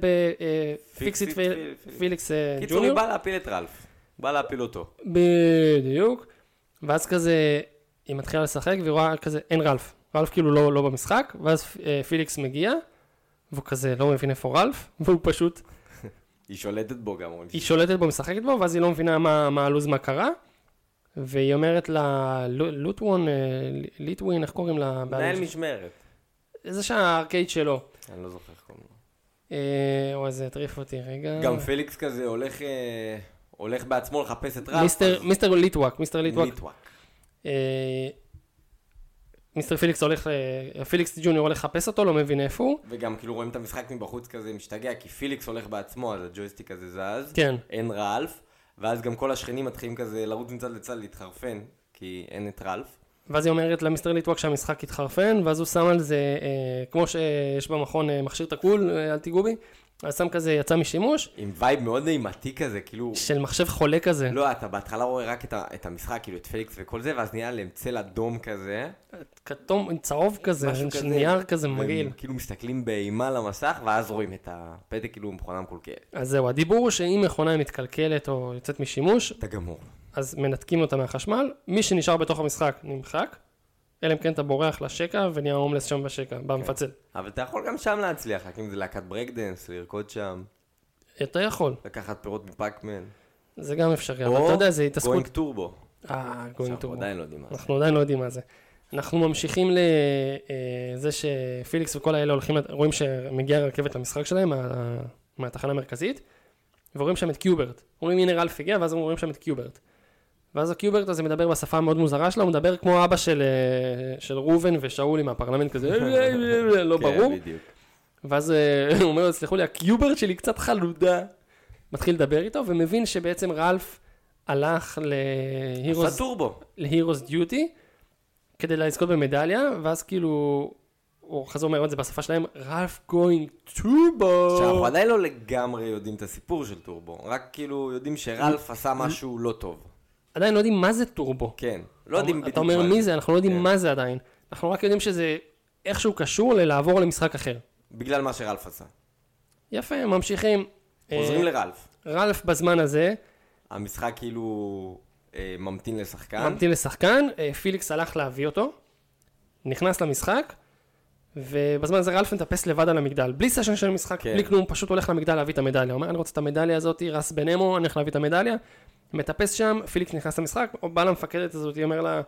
בפיקסיט
פיקסיט פיל- פיל-
ופיליקס אה,
קיצור, היא
ג'וניור.
באה להפיל את רלף. באה להפיל אותו.
בדיוק. ואז כזה, היא מתחילה לשחק והיא רואה כזה, אין רלף. רלף כאילו לא, לא במשחק, ואז אה, פיליקס מגיע, והוא כזה לא מבין איפה רלף, והוא פשוט,
היא שולטת בו גם, אומרים.
היא שולטת בו, משחקת בו, ואז היא לא מבינה מה, מה הלו"ז, מה קרה. והיא אומרת לה, לו- לוטוון, אה, ליטווין, איך קוראים לה?
מנהל משמרת.
זה שהארקייד שלו.
אני לא זוכר איך קוראים לו.
אה, אוי, זה הטריף אותי רגע.
גם פליקס כזה הולך, אה, הולך בעצמו לחפש את רלף.
מיסטר,
אז-
מיסטר ליטווק, מיסטר ליטווק.
ליטווק.
אה, מיסטר פיליקס הולך, ל- פיליקס ג'וניור הולך לחפש אותו, לא מבין איפה הוא.
וגם כאילו רואים את המשחק מבחוץ כזה משתגע, כי פיליקס הולך בעצמו, אז הג'ויסטיק הזה זז.
כן.
אין רלף, ואז גם כל השכנים מתחילים כזה לרוץ מצד לצד להתחרפן, כי אין את רלף.
ואז היא אומרת למיסטר ליטווק שהמשחק התחרפן, ואז הוא שם על זה, אה, כמו שיש במכון אה, מכשיר תקול, אה, אל תיגעו בי, אז שם כזה, יצא משימוש,
עם וייב מאוד אימתי כזה, כאילו...
של מחשב חולה כזה.
לא, אתה בהתחלה רואה רק את ה- את המשחק, כאילו את פליקס וכל זה, ואז נהיה להם צל אדום כזה.
כתום, צהוב כזה,
משהו
של
כזה.
נייר כזה מגעיל.
והם כאילו מסתכלים באימה למסך, ואז רואים את הפתק כאילו מכונה מקולקלת.
אז זהו, הדיבור הוא שאם מכונה היא מתקלקלת או יוצאת משימוש,
אתה גמור.
אז מנתקים אותה מהחשמל, מי שנשאר בתוך המשחק נמחק, אלא אם כן אתה בורח לשקע ונהיה הומלס שם בשקע, במפצל.
אבל אתה יכול גם שם להצליח, רק אם זה להקת ברקדנס, לרקוד שם,
אתה יכול,
לקחת פירות מפאקמן.
זה גם אפשרי, אבל אתה יודע, זה התעסקות...
גוינג טורבו.
אה, גוינג
אנחנו עדיין לא יודעים מה זה.
אנחנו עדיין לא יודעים מה זה. אנחנו ממשיכים לזה שפיליקס וכל האלה הולכים, לת- רואים שמגיעה הרכבת למשחק שלהם, מה- מהתחנה המרכזית, ורואים שם את קיוברט. אומרים הנה רלף הגיע, ואז הם רואים שם את קיוברט. ואז הקיוברט הזה מדבר בשפה המאוד מוזרה שלו, הוא מדבר כמו אבא של, אה, של ראובן ושאולי מהפרלמנט כזה, "אה, לא ברור.
כן, בדיוק.
ואז אה, הוא אומר לו, סלחו לי, הקיוברט שלי קצת חלודה. מתחיל לדבר איתו, ומבין שבעצם רלף הלך להירוס...
עשה טורבו.
להירוס דיוטי, כדי לזכות במדליה, ואז כאילו, הוא חזור אומר את זה בשפה שלהם, רלף גוינג טורבו.
שאנחנו עדיין לא לגמרי יודעים את הסיפור של טורבו, רק כאילו יודעים שרלף עשה משהו לא טוב.
עדיין לא יודעים מה זה טורבו.
כן, לא יודעים
אתה
בדיוק
אומר מי זה, אנחנו לא יודעים
כן.
מה זה עדיין. אנחנו רק יודעים שזה איכשהו קשור ללעבור למשחק אחר.
בגלל מה שרלף עשה.
אה- יפה, ממשיכים.
חוזרים
אה,
לרלף.
רלף בזמן הזה,
המשחק כאילו אה, ממתין לשחקן.
ממתין לשחקן, אה, פיליקס הלך להביא אותו, נכנס למשחק, ובזמן הזה רלף מטפס לבד על המגדל, בלי סשן של משחק,
כן.
בלי כלום, פשוט הולך למגדל להביא את המדליה, אומר אני רוצה את המדליה הזאת, רס בן אמו, אני הולך להביא את המדליה, מטפס שם, פיליקס נכנס למשחק, או בא למפקדת הזאת, היא אומר לה,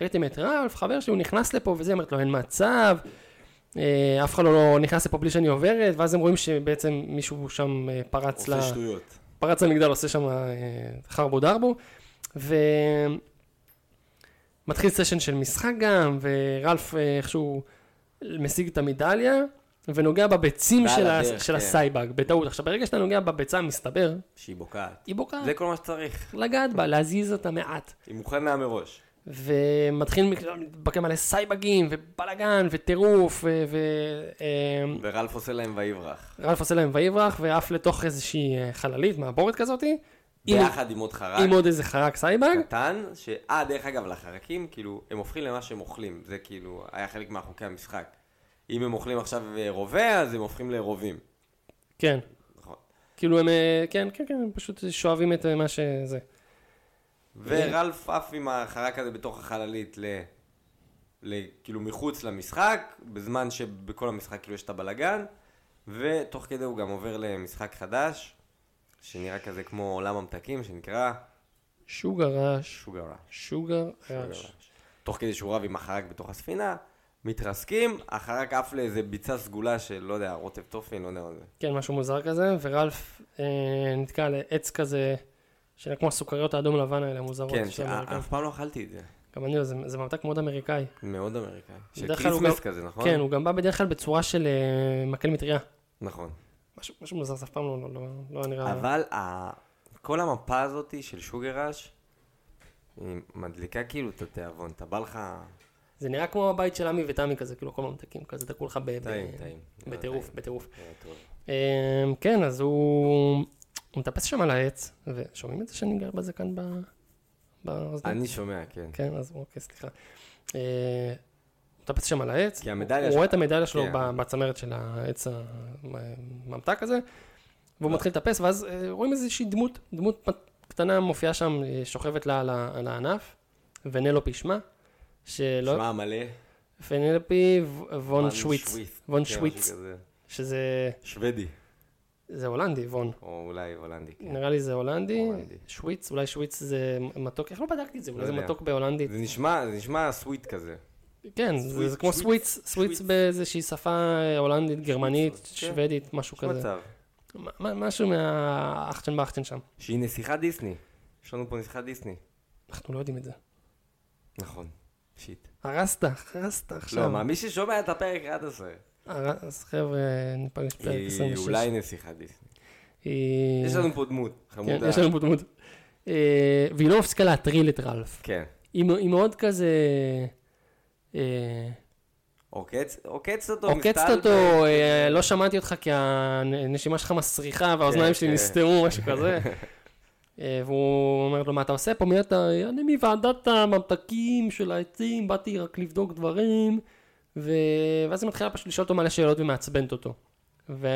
ראיתם את רלף, חבר שלי, הוא נכנס לפה וזה, היא אומרת לו אין מצב, אה, אף אחד לא נכנס לפה בלי שאני עוברת, ואז הם רואים שבעצם מישהו שם אה, פרץ ל...
עושה שטויות.
פרץ למגדל, עושה שם אה, חרבו דרבו, ומתחיל סשן של משחק גם, ורלף אה, איכשהו משיג את המדליה, ונוגע בביצים
ועל
של, ה...
הדרך,
של
כן.
הסייבג, בטעות. עכשיו, ברגע שאתה נוגע בביצה, מסתבר,
שהיא בוקעת.
היא בוקעת,
זה כל מה שצריך.
לגעת בה, להזיז אותה מעט.
היא מוכנה מראש.
ומתחיל מתבקע מלא סייבגים, ובלאגן, וטירוף, ו... ו... אה,
ורלף עושה להם ויברח.
רלף עושה להם ויברח, ועף לתוך איזושהי אה, חללית מעבורת כזאתי. עם-
ביחד כן. עם עוד חרק
עם עוד איזה חרק סייבג.
קטן, ש... אה, דרך אגב, לחרקים, כאילו, הם הופכים למה שהם אוכלים. זה כאילו, היה חלק מהחוקי המשחק. אם הם אוכלים עכשיו אה, רובה, אז הם הופכים לרובים.
כן.
נכון.
כאילו הם, אה, כן, כן, כן, הם פשוט שואבים את אה, מה שזה.
ורלף עף עם החרק הזה בתוך החללית ל... ל... כאילו מחוץ למשחק, בזמן שבכל המשחק כאילו יש את הבלגן, ותוך כדי הוא גם עובר למשחק חדש, שנראה כזה כמו עולם ממתקים, שנקרא
שוגר רעש,
שוגר ראש.
שוגר
שוגר
רעש.
ראש. תוך כדי שהוא רב עם החרק בתוך הספינה, מתרסקים, החרק עף לאיזה ביצה סגולה של, לא יודע, רוטב טופין, לא יודע מה זה.
כן, משהו מוזר כזה, ורלף אה, נתקע על עץ כזה, שנראה כמו הסוכריות האדום לבן האלה המוזרות.
כן,
של
שא-
האמריקאים.
אף פעם לא אכלתי את זה.
גם אני לא, זה זה ממתק מאוד אמריקאי.
מאוד אמריקאי. של
בדרך כלל הוא
קריסמס
גם-
כזה, נכון?
כן, הוא גם בא בדרך כלל בצורה של אה, מקל מטריה.
נכון.
משהו משהו מוזר, זה אף פעם לא- לא- לא- לא נראה...
אבל ה... כל המפה הזאת של שוגר ראש, היא מדליקה כאילו את התיאבון, אתה בא לך...
זה נראה כמו הבית של עמי ותמי כזה, כאילו כל ממתקים כזה, תקעו לך ב- ב-
טעים, טעים.
בטירוף,
טעים.
בטירוף.
אה, טוב.
אמ, כן, אז הוא... הוא מטפס שם על העץ, ושומעים את זה שאני גר בזה כאן ב... באוזניים?
אני שומע, כן.
כן, אז אוקיי, סליחה. אה, הוא מטפס שם על העץ,
כי
הוא
המדליה
הוא
שלו-
רואה את המדליה שלו
כן.
ב- בצמרת של העץ הממתק הזה,
לא.
והוא מתחיל לטפס, ואז אה, רואים איזושהי דמות, דמות פ- קטנה מופיעה שם, אה, שוכבת לה על ה- על הענף, ונלופי שמה, שלא...
שמע מלא.
פנלופי ו- לא- וון
ון
שוויץ,
שוויץ.
וון
כן,
שוויץ,
משהו כזה.
שזה...
שוודי,
זה הולנדי, וון.
או אולי הולנדי. כן.
נראה לי זה הולנדי,
הולנדי.
שוויץ, אולי שוויץ זה מתוק, איך לא בדקתי את זה? אולי
לא
זה
יודע.
מתוק בהולנדית.
זה נשמע, זה נשמע סוויט כזה.
כן, זה זה כמו
שוויץ,
סוויץ,
שוויץ.
סוויץ באיזושהי שפה אה, הולנדית, גרמנית,
כן.
שוודית, משהו
יש
כזה.
מצב.
מ- מ- משהו מהאחצ'ן באחצ'ן שם.
שהיא נסיכת דיסני. יש לנו פה נסיכת דיסני.
אנחנו לא יודעים את זה.
נכון. שיט.
הרסת, הרסת עכשיו.
לא, מה, מי ששומע את הפרק עד עשר.
הר- אז חבר'ה, ניפגש בפרק
היא
26.
אולי נסיכת דיסני.
היא-
יש לנו פה דמות.
כן,
חמודה.
יש לנו פה דמות. אה, והיא לא מפסיקה אה, להטריל את רלף.
כן.
היא מ- היא מאוד כזה... אה,
עוקץ- עוקצת אותו,
עוקצת
מסתלבט.
אותו, אה, לא שמעתי אותך כי הנשימה שלך מסריחה והאוזניים
כן,
שלי
כן.
נסתמו, משהו כזה. אה, והוא אומר לו, מה אתה עושה פה? מי אתה? אני מוועדת הממתקים של העצים, באתי רק לבדוק דברים. ו... ואז היא מתחילה פשוט לשאול אותו מלא שאלות ומעצבנת אותו. ו...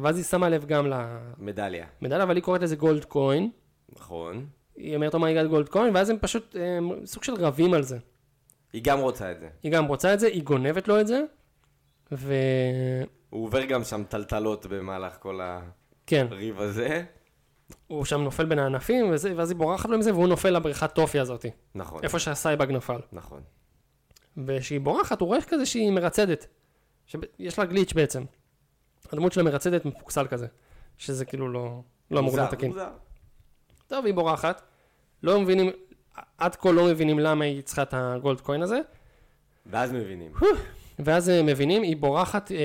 ואז היא שמה לב גם
מדליה.
למדליה, אבל היא קוראת לזה גולד קוין.
נכון.
היא אומרת "Oh לו מה יגאל גולד כהן, ואז הם פשוט אה, הם סוג של רבים על זה.
היא גם רוצה את זה.
היא גם רוצה את זה, היא גונבת לו את זה, וכן,
הוא עובר גם שם טלטלות במהלך כל
כן.
הריב הזה.
הוא שם נופל בין הענפים, וזה, ואז היא בורחת לו עם זה, והוא נופל לבריכת טופי הזאת,
נכון.
איפה שהסייבג נפל.
נכון.
וכשהיא בורחת, הוא רואה כזה שהיא מרצדת. שיש לה גליץ' בעצם. הדמות שלה מרצדת מפוקסל כזה, שזה כאילו לא, לא אמור להיות
מוזר,
תקין.
מוזר.
טוב, היא בורחת. לא מבינים, עד כה לא מבינים למה היא צריכה את הגולד קוין הזה.
ואז מבינים.
ואז אה, מבינים, היא בורחת, אה,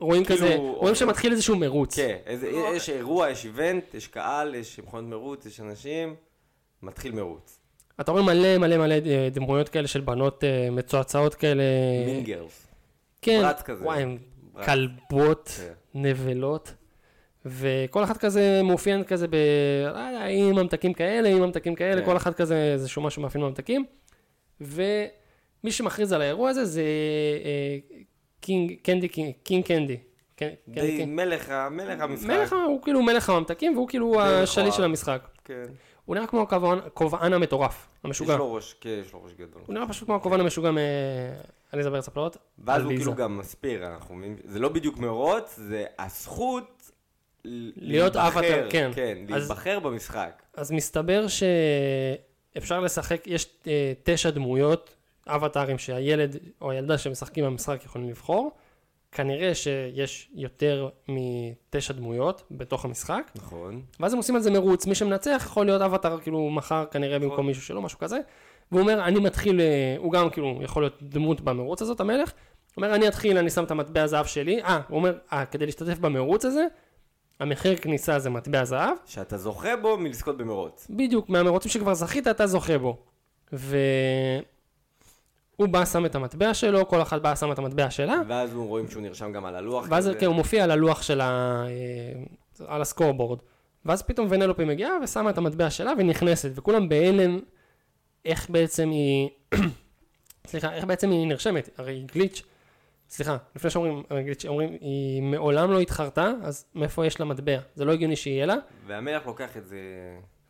רואים
כאילו,
כזה,
או-
רואים שמתחיל איזשהו מרוץ.
כן, איזה-
לא.
יש אירוע, יש איבנט, יש קהל, יש מכונת מרוץ, יש אנשים, מתחיל מרוץ.
אתה רואה מלא מלא מלא אה, דמויות כאלה של בנות אה, מצועצעות כאלה.
מין גרס.
כן,
ברץ כזה.
וואי, הם
ברץ.
כלבות,
כן.
נבלות, וכל אחת כזה מאופיינת כזה ב... לא יודע, היא עם ממתקים כאלה, היא עם ממתקים כאלה,
כן.
כל אחת כזה איזשהו משהו מאפיין ממתקים. ומי שמכריז על האירוע הזה זה אה, קינג קנדי, קינג קינג קנדי. קנ- קנדי
די
קינג.
מלך ה- מלך המשחק.
כן, מלך, ה- הוא כאילו מלך הממתקים והוא כאילו
מכוער.
השליט של המשחק.
כן.
הוא נראה כמו הכובען- הכובען המטורף, המשוגע.
יש לו ראש, כן, יש לו ראש גדול.
הוא נראה פשוט כמו הכובען המשוגע אה, מעליזה בארץ הפלאות.
ואז
על
הוא
ויזה.
כאילו גם מספיר, אנחנו מבינים, זה לא בדיוק מרוץ, זה הזכות ל-
להיות
להיבחר,
אבטאר, כן.
כן,
אז-
להיבחר במשחק.
אז מסתבר שאפשר לשחק, יש אה, תשע דמויות, אבטארים שהילד או הילדה שמשחקים במשחק יכולים לבחור. כנראה שיש יותר מתשע דמויות בתוך המשחק.
נכון.
ואז הם עושים על זה מרוץ, מי שמנצח יכול להיות אבטאר כאילו מחר כנראה במקום מישהו שלו, משהו כזה. והוא אומר, אני מתחיל, אה, הוא גם כאילו יכול להיות דמות במרוץ הזאת, המלך. הוא אומר, אני אתחיל, אני שם את המטבע זהב שלי. אה, הוא אומר, אה, כדי להשתתף במרוץ הזה, המחיר כניסה זה מטבע זהב.
שאתה זוכה בו מלזכות במרוץ.
בדיוק, מהמרוצים שכבר זכית, אתה זוכה בו. והוא בא, שם את המטבע שלו, כל אחת באה, שמה את המטבע שלה.
ואז הוא רואים שהוא נרשם גם על הלוח.
ואז
כזה.
כן, הוא מופיע על הלוח של ה... אה, על הסקורבורד. ואז פתאום ונלופי מגיעה ושמה את המטבע שלה ונכנסת, וכולם בהלם איך בעצם היא... סליחה, איך בעצם היא נרשמת, הרי היא גליץ'. סליחה, לפני שאומרים אה, גליץ', אומרים, היא מעולם לא התחרתה, אז מאיפה יש לה מטבע? זה לא הגיוני שיהיה לה.
והמלך לוקח את זה,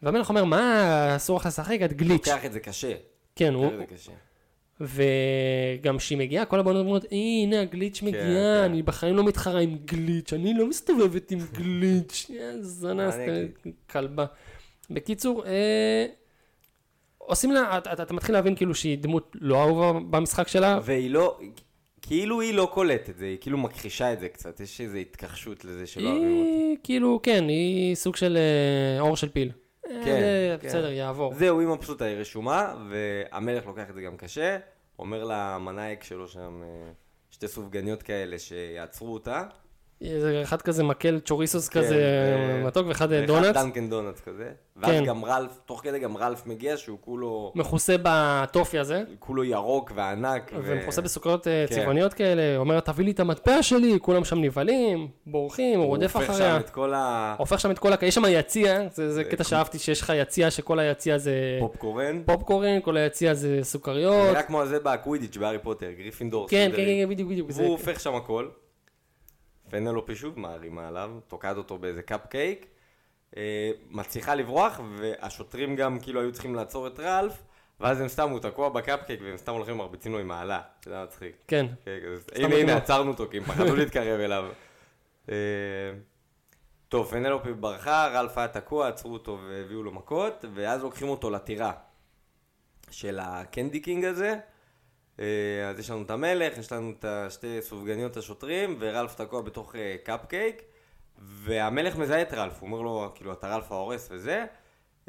והמלך אומר, מה, אסור לך לשחק, את גליץ'.
לוקח את זה קשה.
כן, הוא,
לוקח את זה קשה.
וגם כשהיא מגיעה, כל הבנות אומרות, הנה הגליץ' מגיעה,
כן.
אני בחיים לא מתחרה עם גליץ', אני לא מסתובבת עם גליץ', יא זונה,
אני אגיד.
סת- כלבה. בקיצור, אה, עושים לה, אתה- אתה אתה מתחיל להבין כאילו שהיא דמות לא אהובה במשחק שלה,
והיא לא, כאילו היא לא קולטת את זה, היא כאילו מכחישה את זה קצת, יש איזו התכחשות לזה שלא אוהבים אותה.
היא כאילו, כן, היא סוג של אה, עור של פיל. אה, זה
כן.
בסדר, יעבור.
זהו, אימא פשוטה, היא רשומה, והמלך לוקח את זה גם קשה, אומר למנאייק שלו שם אה, שתי סופגניות כאלה שיעצרו אותה.
זה אחד כזה מקל צ'וריסוס
כן,
כזה
אה,
מתוק ואחד אה,
ואחד
דונלדס.
דנקן דונלדס כזה. ואז
כן.
גם רלף, תוך כדי גם רלף מגיע שהוא כולו,
מכוסה בטופי הזה.
כולו ירוק וענק. ו-
ומכוסה בסוכריות אה,
כן.
צבעוניות כאלה, אומר, תביא לי את המטבע שלי, כולם שם נבהלים, בורחים, הוא רודף
הוא הופך
אחריה,
שם את כל
הופך שם את כל הקהל, יש שם יציע, זה זה קטע שאהבתי שיש לך יציע שכל היציע זה
הפופקורן.
פופקורן, כל היציע זה
זה
סוכריות,
נראה כמו הזה בקווידיץ' בהארי פוטר, גריפינדור.
כן, כן,
סלידרין.
כן, כן, בדיוק, בדיוק, זה-
והוא הופך שם הכל. פנלופי שוב מערימה עליו, תוקעת אותו באיזה קפקייק, אה, מצליחה לברוח, והשוטרים גם כאילו היו צריכים לעצור את רלף, ואז הם סתם, הוא תקוע בקפקייק, והם סתם הולכים ומרביצים לו עם העלה. זה היה מצחיק.
כן,
כן, כזה,
נותנים
הנה, הנה,
לו.
עצרנו אותו, כי הם פחדו להתקרב אליו. אה, טוב, פנלופי ברחה, רלף היה תקוע, עצרו אותו והביאו לו מכות, ואז לוקחים אותו לטירה של הקנדי קינג הזה. אה, אז יש לנו את המלך, יש לנו את השתי סופגניות השוטרים, ורלף תקוע בתוך אה, קפקייק, והמלך מזהה את רלף, הוא אומר לו, כאילו, אתה רלף ההורס וזה,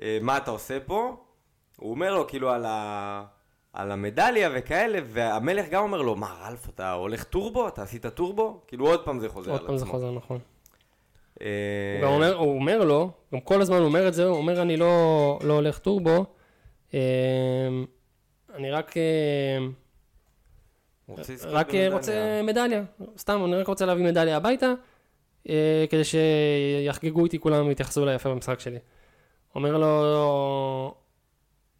אה, מה אתה עושה פה? הוא אומר לו, כאילו, על, ה... על המדליה וכאלה, והמלך גם אומר לו, מה, רלף, אתה הולך טורבו? אתה עשית טורבו? כאילו, עוד פעם זה חוזר
עוד
על
פעם זה
עצמו.
חוזר, נכון.
אה,
הוא גם אומר- הוא אומר לו, גם כל הזמן הוא אומר את זה, הוא אומר, אני לא לא הולך טורבו, אה, אמ, אני רק אמ,
רוצה לזכות
רק אה,
במדליה.
רוצה מדליה, סתם, אני רק רוצה להביא מדליה הביתה, אה, כדי שיחגגו איתי כולם ויתייחסו אליי יפה במשחק שלי. אומר לו,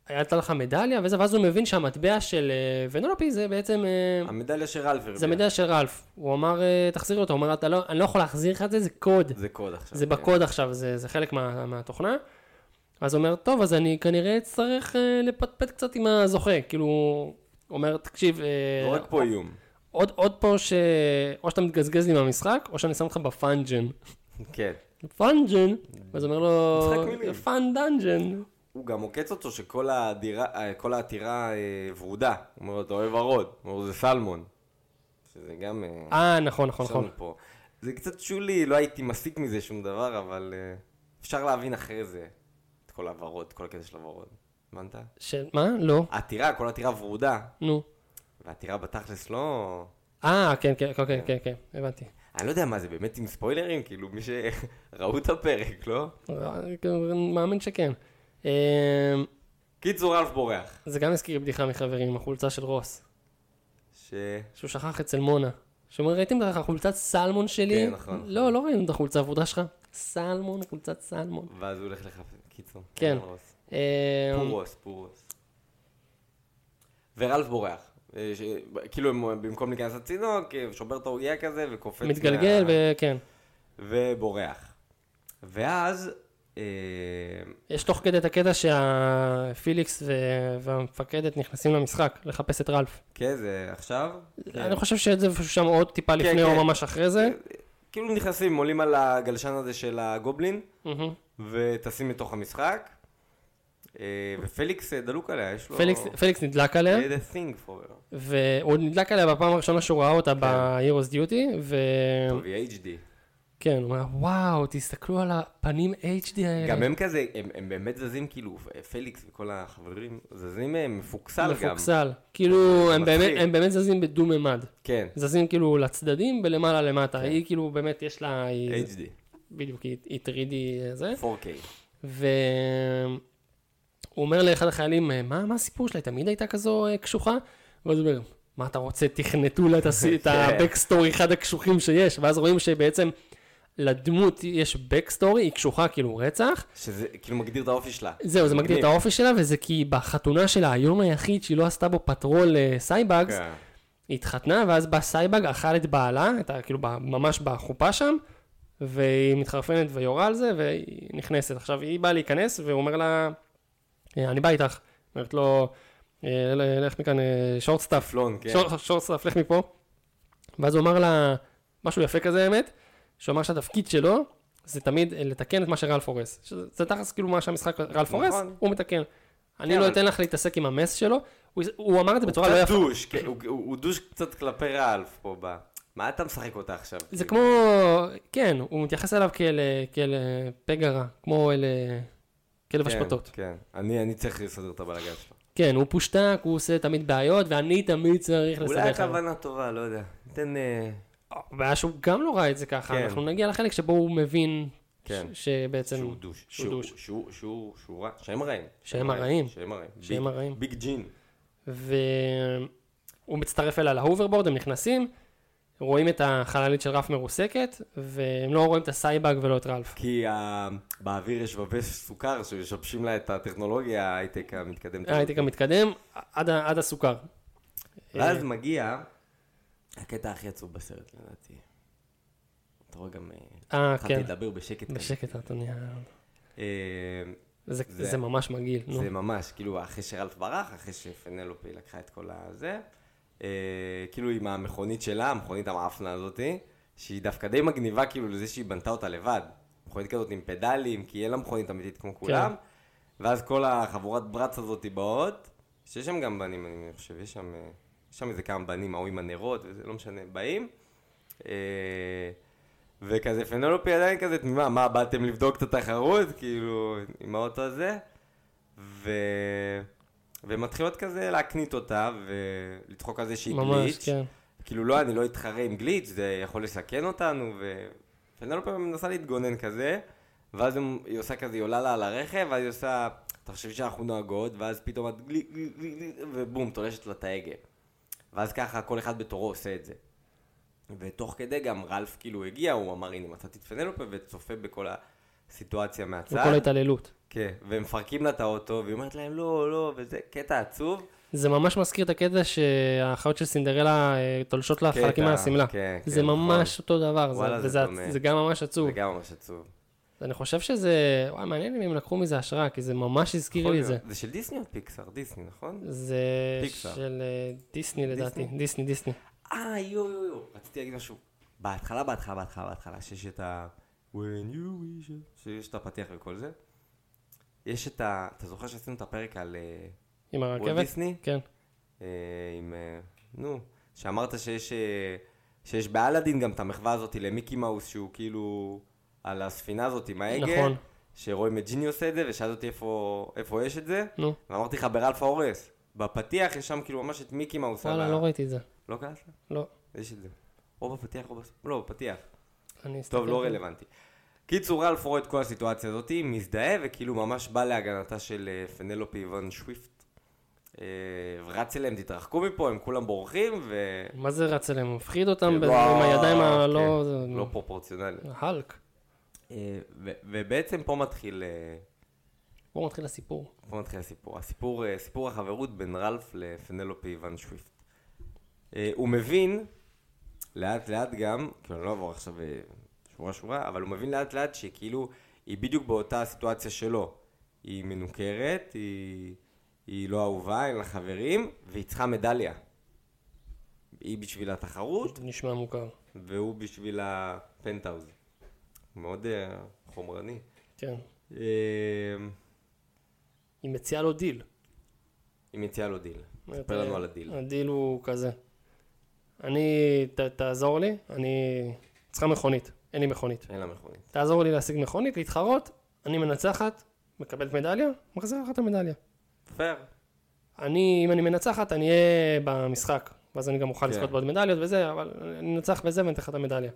הייתה לך מדליה? וזה, ואז הוא מבין שהמטבע של אה, ונולופי זה בעצם, אה,
המדליה שרלף הרוויח.
זה המדליה של רלף. הוא אמר, אה, תחזיר אותו, הוא אומר, "אתה לא- אני לא יכול להחזיר לך את זה, זה קוד.
זה קוד עכשיו.
זה
כן.
בקוד עכשיו, זה, זה חלק מה, מהתוכנה. אז הוא אומר, טוב, אז אני כנראה אצטרך אה, לפטפט קצת עם הזוכה. כאילו, הוא אומר, תקשיב, אה,
לא רק פה איום.
עוד, עוד פה ש... או שאתה מתגזגז לי מהמשחק, או שאני שם אותך בפאנג'ן.
כן.
פאנג'ן? ואז אומר
משחק מילים.
לו, פאן דאנג'ן.
הוא גם עוקץ אותו שכל הדירה, אה, כל העתירה אה, ורודה. הוא אומר לו, אתה אוהב ורוד. הוא אומר לו, זה סלמון. שזה גם... אה,
אה, נכון, נכון,
יש לנו
נכון.
פה. זה קצת שולי, לא הייתי מסיק מזה שום דבר, אבל אה, אפשר להבין אחרי זה את כל הוורוד, כל הקטע של הוורוד. הבנת?
ש... מה? לא.
העתירה, כל העתירה ורודה.
נו.
והעתירה בתכלס לא...
אה, כן, כן, כן, כן, כן, הבנתי.
אני לא יודע מה זה, באמת עם ספוילרים? כאילו, מי שראו את הפרק, לא?
מאמין שכן. אמ,
קיצור, אלף בורח.
זה גם הזכיר בדיחה מחברים עם החולצה של רוס,
ש...
שהוא שכח אצל מונה. שאומר, ראיתם את החולצת סלמון שלי?
כן, נכון.
לא, לא ראינו את החולצה הוורודה שלך. סלמון, חולצת סלמון.
ואז הוא הולך לחפש, קיצור. לא
כן.
פורוס.
אמ,
פורוס, פורוס. ורלף בורח. אה, ש... כאילו, הם- במקום להיכנס לצינוק, אה, שובר את העוגיה כזה וקופץ.
מתגלגל,
מה-
וכן.
ובורח. ואז, אה,
יש תוך כדי את הקטע שהפיליקס ו- והמפקדת נכנסים למשחק לחפש את רלף.
כן, זה עכשיו?
אני חושב שאת זה פשוט שם עוד טיפה לפני
כן.
או ממש אחרי זה.
כאילו נכנסים, עולים על הגלשן הזה של הגובלין,
מהמם.
וטסים לתוך המשחק, אה, ופליקס אה, דלוק עליה, יש לו...
פליקס- כן? פליקס נדלק עליה,
He had a thing for her.
והוא נדלק עליה בפעם הראשונה שהוא ראה אותה ב-Heroes Duty, ו...
כן. טוב, היא HD.
כן, הוא אומר, וואו, תסתכלו על הפנים HD האלה.
גם הם כזה, הם- הם באמת זזים כאילו, פליקס וכל החברים, זזים אה, מפוקסל גם.
מפוקסל. כאילו, הם
מצחיק.
באמת- הם באמת זזים בדו-ממד.
כן,
זזים כאילו לצדדים ולמעלה למטה. היא כאילו באמת יש לה... היא-
HD,
בדיוק, היא היא 3D זה.
4K.
והוא אומר לאחד החיילים, "אה, מה, מה הסיפור שלה? היא תמיד הייתה כזו אה, קשוחה? ואז הוא אומר, מה אתה רוצה, תכנתו לה את הסי- את הבקסטורי, אחד הקשוחים שיש. ואז רואים שבעצם לדמות יש בקסטורי, היא קשוחה כאילו רצח.
שזה כאילו מגדיר את האופי שלה.
זהו, זה מגדיר את
מגניב.
האופי שלה, וזה כי בחתונה שלה, היום היחיד שהיא לא עשתה בו פטרול אה, סייבאגס,
כן.
היא התחתנה, ואז בא סייבג, אכל את בעלה, את ה- כאילו ב- ממש בחופה שם, והיא מתחרפנת ויורה על זה, והיא נכנסת. עכשיו, היא באה להיכנס, והוא אומר לה, "אה, אני בא איתך. אומרת לו, "אה, ל- לך מכאן, שורטסטאף,
פלון, כן.
שורטסטאף, לך מפה. ואז הוא אמר לה, משהו יפה כזה, האמת, שהוא אמר שהתפקיד שלו, זה תמיד אה, לתקן את מה שרלף הורס. שזה- זה תכלס כאילו מה שהמשחק רלף הורס,
נכון.
הוא מתקן. אני
כן,
לא
אבל-
אתן לך להתעסק עם המס שלו, הוא- הוא אמר את זה בצורה לא
קצת
יפה.
דוש, כן, הוא- הוא הוא דוש קצת כלפי רלף פה ב... מה אתה משחק אותה עכשיו?
זה
כאילו?
כמו, כן, הוא מתייחס אליו כאל, כאל פגע רע, כמו אל כלב
כן,
השבתות.
כן, אני אני צריך לסדר את הבלאגן שלו.
כן, הוא פושטק, הוא עושה תמיד בעיות, ואני תמיד צריך לסדר
אולי
לך.
הכוונה טובה, לא יודע. ניתן... אה,
הבעיה שהוא גם לא ראה את זה ככה,
כן.
אנחנו נגיע לחלק שבו הוא מבין ש-
כן.
שבעצם...
שהוא דוש.
שהוא
שהוא-
דוש.
שהוא- שהוא שהוא רע. שהם רעים.
שהם הרעים.
שהם הרעים.
שהם
ביג-
הרעים.
ביג ג'ין.
והוא מצטרף אליה להוברבורד, הם נכנסים, רואים את החללית של רף מרוסקת, והם לא רואים את הסייבג ולא את רלף.
כי ה- באוויר יש שבבי סוכר שמשבשים לה את הטכנולוגיה, ההייטק המתקדמת. הזאת.
ההייטק המתקדם, עד ה- עד הסוכר.
ואז מגיע הקטע הכי עצוב בסרט, לדעתי. אתה רואה גם... אה,
אה,
התחלתי
כן.
לדבר בשקט. כזה.
בשקט אתה נהיה...
אה,
זה,
זה-
זה, זה ממש מגעיל, נו.
זה ממש, כאילו, אחרי שרלף ברח, אחרי שפנלופי לקחה את כל הזה, אה, כאילו עם המכונית שלה, המכונית המאפנה הזאתי, שהיא דווקא די מגניבה, כאילו, לזה שהיא בנתה אותה לבד. מכונית כזאת עם פדלים, כי אין לה מכונית אמיתית
כן.
כמו כולם, ואז כל החבורת ברץ הזאתי באות, שיש שם גם בנים, אני חושב, יש שם, אה, יש שם איזה כמה בנים, ההוא עם הנרות, וזה לא משנה, באים. אה, וכזה פנלופי עדיין כזה תמימה, מה, באתם לבדוק את התחרות? כאילו, עם האוטו הזה? ו... ומתחילות כזה להקנית אותה ולצחוק על זה שהיא
ממש,
גליץ'.
כן.
כאילו לא, אני לא אתחרה עם גליץ', זה יכול לסכן אותנו, ו... פנלופה מנסה להתגונן כזה, ואז הם- היא עושה כזה, היא עולה לה על הרכב, ואז היא עושה, אתה חושב שאנחנו נוהגות, ואז פתאום את גלי, גלי, גלי, גלי, ובום, תולשת לה את ההגה. ואז ככה כל אחד בתורו עושה את זה. ותוך כדי גם רלף כאילו הגיע, הוא אמר, הנה מצאתי את פנלופה, וצופה בכל הסיטואציה מהצד.
וכל ההתעללות.
כן, והם מפרקים לה את האוטו, והיא אומרת להם, לא, לא, וזה קטע עצוב.
זה ממש מזכיר את הקטע שהאחיות של סינדרלה אה, תולשות לה
קטע,
חלקים מהשמלה.
כן, כן,
זה
נכון.
ממש אותו דבר, זה-
וואלה, זה
וזה
דומה.
זה גם ממש עצוב.
זה גם ממש עצוב.
אני חושב שזה, וואי, מעניין אם הם לקחו מזה השראה, כי זה ממש הזכיר לי את זה.
זה של דיסני או פיקסאר? דיסני, נכון?
זה
פיקסאר.
של אה, דיסני לדעתי, דיסני, דיסני.
אה, יו, יו, יו, רציתי להגיד משהו. בהתחלה, בהתחלה, בהתחלה, בהתחלה, שיש את ה... When you wish it, שיש את הפתיח וכל זה. יש את ה... אתה זוכר שעשינו את הפרק על אה,
עם
וולט
הרכבת?
דיסני?
כן.
אה, עם... אה, נו, שאמרת שיש... אה, שיש באלאדין גם את המחווה הזאת למיקי מאוס, שהוא כאילו... על הספינה הזאת עם ההגה.
נכון.
שרואים את ג'יני עושה את זה, ושאלת אותי איפה, איפה יש את זה.
נו.
ואמרתי לך, ברלף האורס. בפתיח יש שם כאילו ממש את מיקי מאוס. על
וואלה,
ה-
לא ראיתי את זה.
לא קלט לה?
לא.
יש את זה. או בפתיח או בסוף. לא, בפתיח.
אני
טוב,
אסתכל.
לא רלוונטי. קיצור, רלף רואה את כל הסיטואציה הזאת, מזדהה וכאילו ממש בא להגנתה של אה, פנלופי וון שוויפט. אה, רץ אליהם, תתרחקו מפה, הם כולם בורחים ו...
מה זה רץ אליהם? מפחיד אותם ב-
וואו,
עם הידיים הלא...
כן,
זה-
לא פרופורציונלי.
הלק.
אה, ו- ובעצם פה מתחיל... אה,
בואו נתחיל הסיפור.
פה מתחיל הסיפור. הסיפור, אה, סיפור החברות בין רלף לפנלופי ון שוויפט. אה, הוא מבין, לאט לאט גם, כאילו אני לא אעבור עכשיו אה, שורה שורה, אבל הוא מבין לאט לאט שכאילו, היא בדיוק באותה הסיטואציה שלו. היא מנוכרת, היא, היא לא אהובה, אין לה חברים, והיא צריכה מדליה. היא בשביל התחרות,
נשמע מוכר.
והוא בשביל הפנטהאוז. מאוד אה, חומרני.
כן.
אה,
היא מציעה לו דיל.
היא מציעה לו דיל. ספר לנו על הדיל.
אה, הדיל הוא כזה. אני, ת, תעזור לי, אני צריכה מכונית, אין לי מכונית.
אין לה מכונית.
תעזור לי להשיג מכונית, להתחרות, אני מנצחת, מקבלת מדליה, מחזיר לך את המדליה.
פייר.
אני, אם אני מנצחת, אני אהיה במשחק, ואז אני גם אוכל
כן.
לזכות בעוד מדליות וזה, אבל אני אנצח בזה ואני אתן לך את המדליה.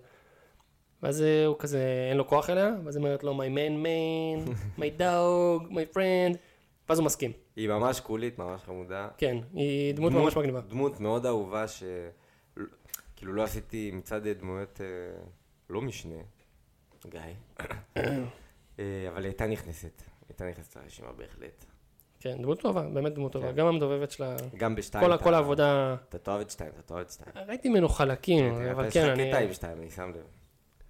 ואז אה, הוא כזה, אין לו כוח אליה, ואז היא אומרת לו, my man man, my dog, my friend, ואז הוא מסכים.
היא ממש קולית, ממש חמודה.
כן, היא דמות ממש מגניבה.
דמות מאוד אהובה ש... כאילו לא עשיתי מצד דמויות אה, לא משנה. גיא. אה, אבל היא הייתה נכנסת. היא הייתה נכנסת לרשימה בהחלט.
כן, דמות טובה, באמת דמות טובה.
כן.
גם המדובבת שלה,
גם בשתיים.
כל,
אתה-
כל העבודה,
אתה תאהב את שתיים, אתה תאהב את שתיים.
ראיתי ממנו חלקים, אבל
אתה-
כן,
יש לך קטע
אני...
עם שתיים, אני שם לב.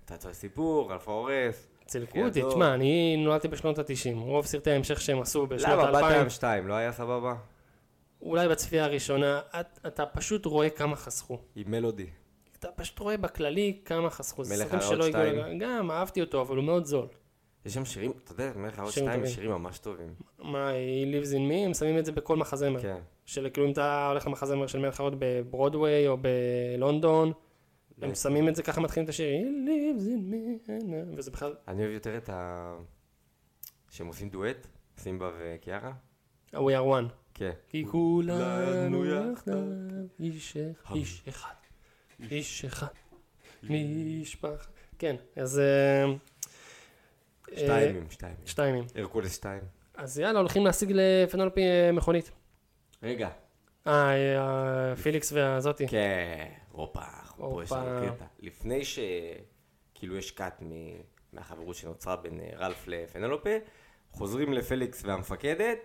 אתה צועק סיפור, אלפה הורס.
צילקו
אחי,
אותי,
הדור.
תשמע, אני נולדתי בשנות ה-90, רוב סרטי ההמשך שהם עשו בשנות
למה? באת
ה-2000,
עם שתיים, לא היה סבבה?
אולי בצפייה הראשונה, את- אתה פשוט רואה כמה חסכו.
עם מלודי.
אתה פשוט רואה בכללי כמה חסכו. זה
מלך
סרטים
הרעות
שלא הגיעו
שתיים.
לגמרי. גם, אהבתי אותו, אבל הוא מאוד זול.
יש שם שירים, אתה יודע, מלך העוד
שירים
שתיים, יש
טובים.
שירים ממש טובים.
מה, היא lives in me, הם שמים את זה בכל מחזמר.
כן.
של כאילו אם אתה הולך למחזמר של מלך הרעות בברודוויי או בלונדון,
אה.
הם שמים את זה ככה מתחילים את השיר, He lives in me, וזה בכלל,
אני אוהב יותר את ה... שהם עושים דואט, סימבה וקיארה.
We are one.
כן.
כי כולנו
כולנו
יחדיו,
יחדיו.
איש אחד, איש אחד, איש אחד, משפחה. כן, אז... אה, אה,
שתיים עם שתיים.
שתיים.
הרקולס שתיים.
אז יאללה, הולכים להשיג לפנולפי אה, מכונית.
רגע.
אה, אה, פיליקס והזאתי.
כן. הופה, אנחנו פה יש
הופה.
לנו קטע. לפני ש... כאילו יש קאט מ- מהחברות שנוצרה בין אה, רלף לפנלופה, חוזרים לפליקס והמפקדת,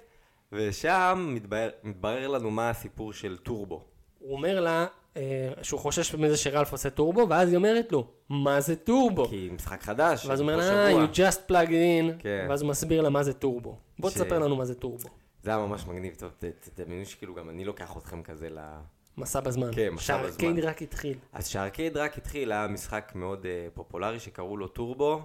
ושם מתברר, מתברר לנו מה הסיפור של טורבו.
הוא אומר לה אה, שהוא חושש מזה שרלף עושה טורבו, ואז היא אומרת לו, מה זה טורבו?
כי משחק חדש,
ואז הוא אומר אה,
פה
לה,
שבוע.
you just plug in,
כן.
ואז הוא מסביר לה מה זה טורבו. בוא
ש-
תספר לנו מה זה טורבו.
זה היה ממש מגניב, טוב, ת- תדמיינו שכאילו גם אני לוקח אתכם כזה ל...
מסע בזמן.
כן, מסע
שהארקייד
בזמן.
רק התחיל.
אז כשהארקייד רק התחיל, היה משחק מאוד אה, פופולרי שקראו לו טורבו,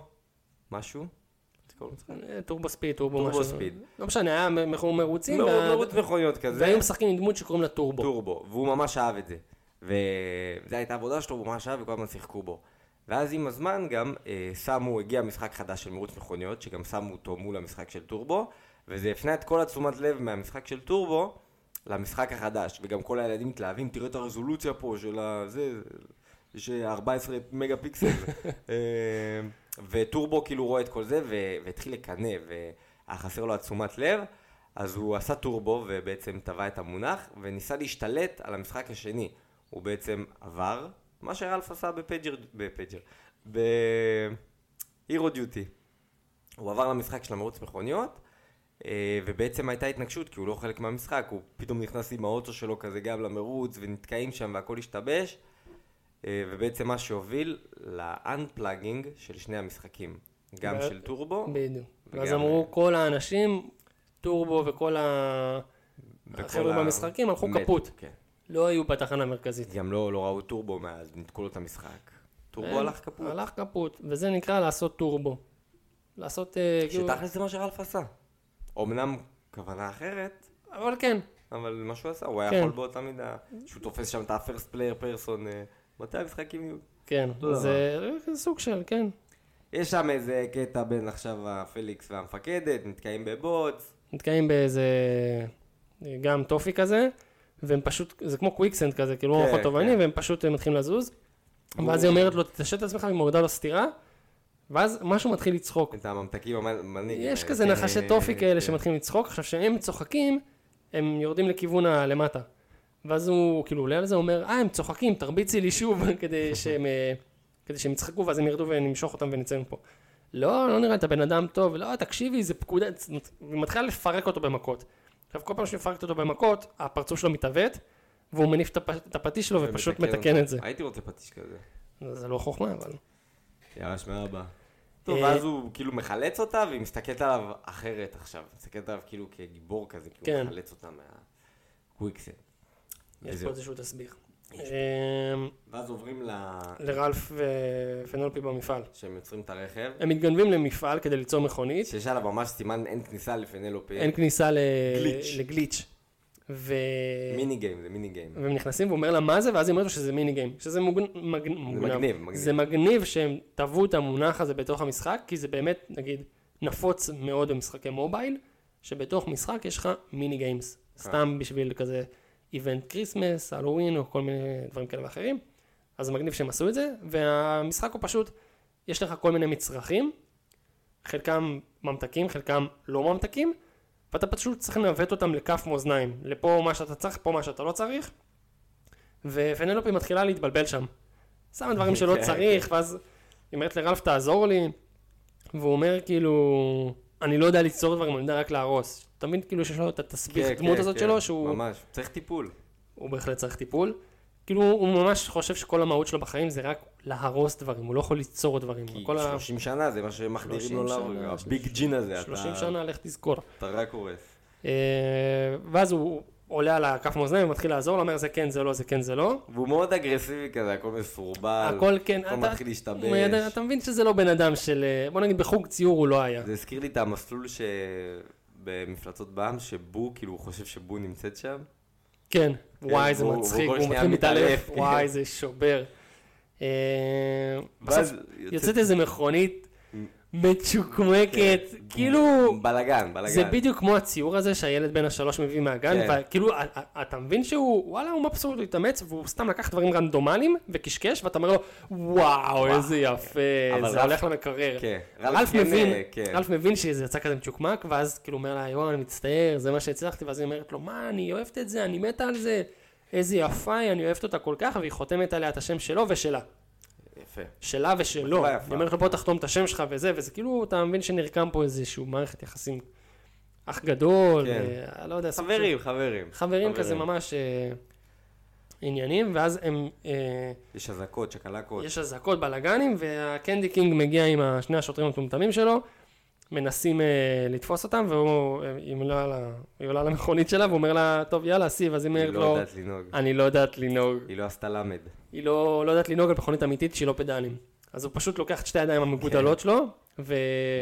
משהו? איך קראו למשחק?
אה, טורבו ספיד, טורבו משהו.
טורבו ספיד.
לא משנה, היה מ- מ- מרוצים,
מאוד
וה-
מרוץ מכוניות כזה,
והיו משחקים עם דמות שקוראים לה טורבו.
טורבו, והוא ממש אהב את זה. וזו הייתה העבודה שלו, הוא ממש אהב וכל הזמן שיחקו בו. ואז עם הזמן גם אה, שמו, הגיע משחק חדש של מרוץ מכוניות, שגם שמו אותו מול המשחק של טורבו, וזה הפנה את כל התשומת לב מהמשחק של טורבו למשחק החדש, וגם כל הילדים מתלהבים, תראה את הרזולוציה פה של ה... זה, יש 14 מגה פיקסל. אה, וטורבו כאילו רואה את כל זה, ו- והתחיל לקנא, והיה חסר לו התשומת לב, אז הוא עשה טורבו ובעצם טבע את המונח, וניסה להשתלט על המשחק השני. הוא בעצם עבר, מה שרלף עשה בפג'ר, בפג'ר, בהירו דיוטי. הוא עבר למשחק של המרוץ מכוניות, אה, ובעצם הייתה התנגשות, כי הוא לא חלק מהמשחק, הוא פתאום נכנס עם האוטו שלו כזה גם למרוץ, ונתקעים שם והכל השתבש, אה, ובעצם מה שהוביל לאנפלאגינג של שני המשחקים, גם
ו-
של טורבו,
בדיוק. ואז
וגם-
אמרו כל האנשים, טורבו וכל ה-
וכל
החבר'ה
ה-
במשחקים הלכו
מתו,
קפוט.
כן.
לא היו בתחנה המרכזית.
גם לא, לא ראו טורבו מאז, ניתקו לו את המשחק. טורבו
כן,
הלך קפוט.
הלך קפוט, וזה נקרא לעשות טורבו. לעשות... אה, כאילו-
שתכלס זה מה שרלף עשה. אמנם כוונה אחרת,
אבל כן,
אבל מה שהוא עשה, הוא היה
כן.
יכול באותה מידה, שהוא תופס שם את ה-first player person, אה, מתי המשחקים יהיו?
כן.
אותו
זה זה סוג של, כן.
יש שם איזה קטע בין עכשיו הפליקס והמפקדת, נתקעים בבוץ.
נתקעים באיזה... אה, גם טופי כזה, והם פשוט, זה כמו קוויקסנד כזה, כאילו
כן,
הוא אורח תובעני,
כן.
והם פשוט אה, מתחילים לזוז.
הוא-
ואז היא אומרת לו, תתעשת את עצמך, והיא מורידה לו סטירה, ואז משהו מתחיל לצחוק.
את הממתקים אה, כן, המנהיג.
יש כזה נחשי טופי
אה,
כאלה שמתחילים לצחוק, עכשיו כשהם צוחקים, הם יורדים לכיוון הלמטה. ואז הוא כאילו עולה על זה, אומר, אה, הם צוחקים, תרביצי לי שוב, כדי שהם, אה, כדי שהם יצחקו, ואז הם ירדו ונמשוך אותם ונצא מפה. לא, לא נראה, אתה בן אדם טוב, לא, תקשיבי, זה פקודה, היא מתחילה לפרק אותו במכות. עכשיו, כל פעם שהיא מפרקת אותו במכות, הפרצוף שלו מתעוות, והוא מניף את הפ- את הפטיש שלו ופשוט מתקן את זה.
אה, הייתי רוצה פטיש כזה.
זה לא חוכמה, אבל...
יאללה, שמע הבא. טוב,
אה,
ואז הוא כאילו מחלץ אותה, והיא מסתכלת עליו אחרת עכשיו. מסתכלת עליו כאילו כגיבור כזה, כי הוא
כן.
מחלץ אותה מהקוויקסן.
יש פה
וזהו.
איזשהו תסביך.
יש
אמ,
ואז עוברים ל...
לרלף ופנולפי במפעל.
שהם יוצרים את הרכב,
הם מתגנבים למפעל כדי ליצור מכונית,
שיש עליו ממש סימן אין כניסה לא לפנלופי.
אין כניסה ל...
גליץ'.
לגליץ'. ו...
מיני גיים, זה מיני גיים.
והם נכנסים והוא אומר לה מה זה, ואז היא אומרת לו שזה מיני גיים. שזה מוגנ... מגנ... מוגנב.
מגניב, מגניב.
זה מגניב שהם טבעו את המונח הזה בתוך המשחק, כי זה באמת, נגיד, נפוץ מאוד במשחקי מובייל, שבתוך משחק יש לך מיני גיימס.
אה.
סתם בשביל כזה איבנט כריסמס, הלואוין, או כל מיני דברים כאלה ואחרים. אז זה מגניב שהם עשו את זה, והמשחק הוא פשוט, יש לך כל מיני מצרכים, חלקם ממתקים, חלקם לא ממתקים, ואתה פשוט צריך לנווט אותם לכף מאזניים, לפה מה שאתה צריך, פה מה שאתה לא צריך, ופנלופי מתחילה להתבלבל שם. שמה דברים שלא
כן,
צריך, ואז היא אומרת לרלף תעזור לי, והוא אומר כאילו, אני לא יודע ליצור דברים, אני יודע רק להרוס. תמיד כאילו שיש לו את התסביך
כן,
דמות
כן,
הזאת
כן,
שלו, שהוא
ממש, צריך טיפול.
הוא בהחלט צריך טיפול. כאילו, הוא ממש חושב שכל המהות שלו בחיים זה רק להרוס דברים, הוא לא יכול ליצור דברים.
כי
כל ה-
30 שנה זה מה שמחדירים
30
לו
שנה,
להרוג, הביג ג'ין הזה,
30
אתה-
שנה, לך תזכור.
אתה רק הורס.
אה, ואז הוא עולה על הכף מאזניים ומתחיל לעזור, לו, אומר זה כן, זה לא, זה כן, זה לא.
והוא מאוד אגרסיבי כזה, הכל מסורבל.
הכל כן,
הכל
אתה-
מתחיל להשתבש.
הוא יודע, אתה מבין שזה לא בן אדם של, אה, בוא נגיד בחוג ציור הוא לא היה.
זה הזכיר לי את המסלול ש... במפלצות בעם, שבו, כאילו, הוא חושב שבו נמצאת שם.
כן, וואי זה
והוא- והוא
מצחיק,
כל
הוא
שנייה
מתחיל להתעלף,
מתעלף, כן.
וואי זה שובר. אה,
ואז
בסוף יוצאת איזה מכונית מצ'וקמקת,
כן.
כאילו...
בלאגן, בלאגן.
זה בדיוק כמו הציור הזה שהילד בן השלוש מביא מהגן,
כן.
וכאילו, א- א- אתה מבין שהוא, וואלה, הוא מבסוט, הוא התאמץ, והוא סתם לקח דברים רנדומליים, וקשקש, ואתה אומר לו, וואו, איזה יפה,
כן. אבל
זה
רלף-
הולך למקרר.
כן.
רלף
כן,
מבין,
אה, כן.
רלף מבין שזה יצא כזה מצ'וקמק, ואז כאילו אומר לה, יואו, אני מצטער, זה מה שהצלחתי, ואז היא אומרת לו, מה, אני אוהבת את זה, אני מתה על זה, איזה יפה היא, אני אוהבת אותה כל כך, והיא חותמת עליה את השם שלו ושלה.
יפה.
שלה ושלו.
מחווה
אני
יפה.
אומר לך, בוא תחתום את השם שלך וזה, וזה כאילו, אתה מבין שנרקם פה איזשהו מערכת יחסים. אח גדול,
כן.
אה, לא יודע, סוג של-
חברים, חברים.
חברים כזה ממש אה, עניינים, ואז הם, אה,
יש אזעקות, שקלקות.
יש אזעקות, בלאגנים, והקנדי קינג מגיע עם ה- שני השוטרים המטומטמים שלו, מנסים אה, לתפוס אותם, והוא, אה, היא עולה על ה- היא עולה על המכונית שלה, ואומר לה, טוב, יאללה, סיב, אז היא
היא
אומרת
לא
לו,
יודעת לנהוג.
אני לא יודעת לנהוג.
היא לא עשתה למד.
היא לא, לא יודעת לנהוג על מכונית אמיתית שהיא לא פדלים. אז הוא פשוט לוקח את שתי הידיים
כן.
המגודלות שלו, ו...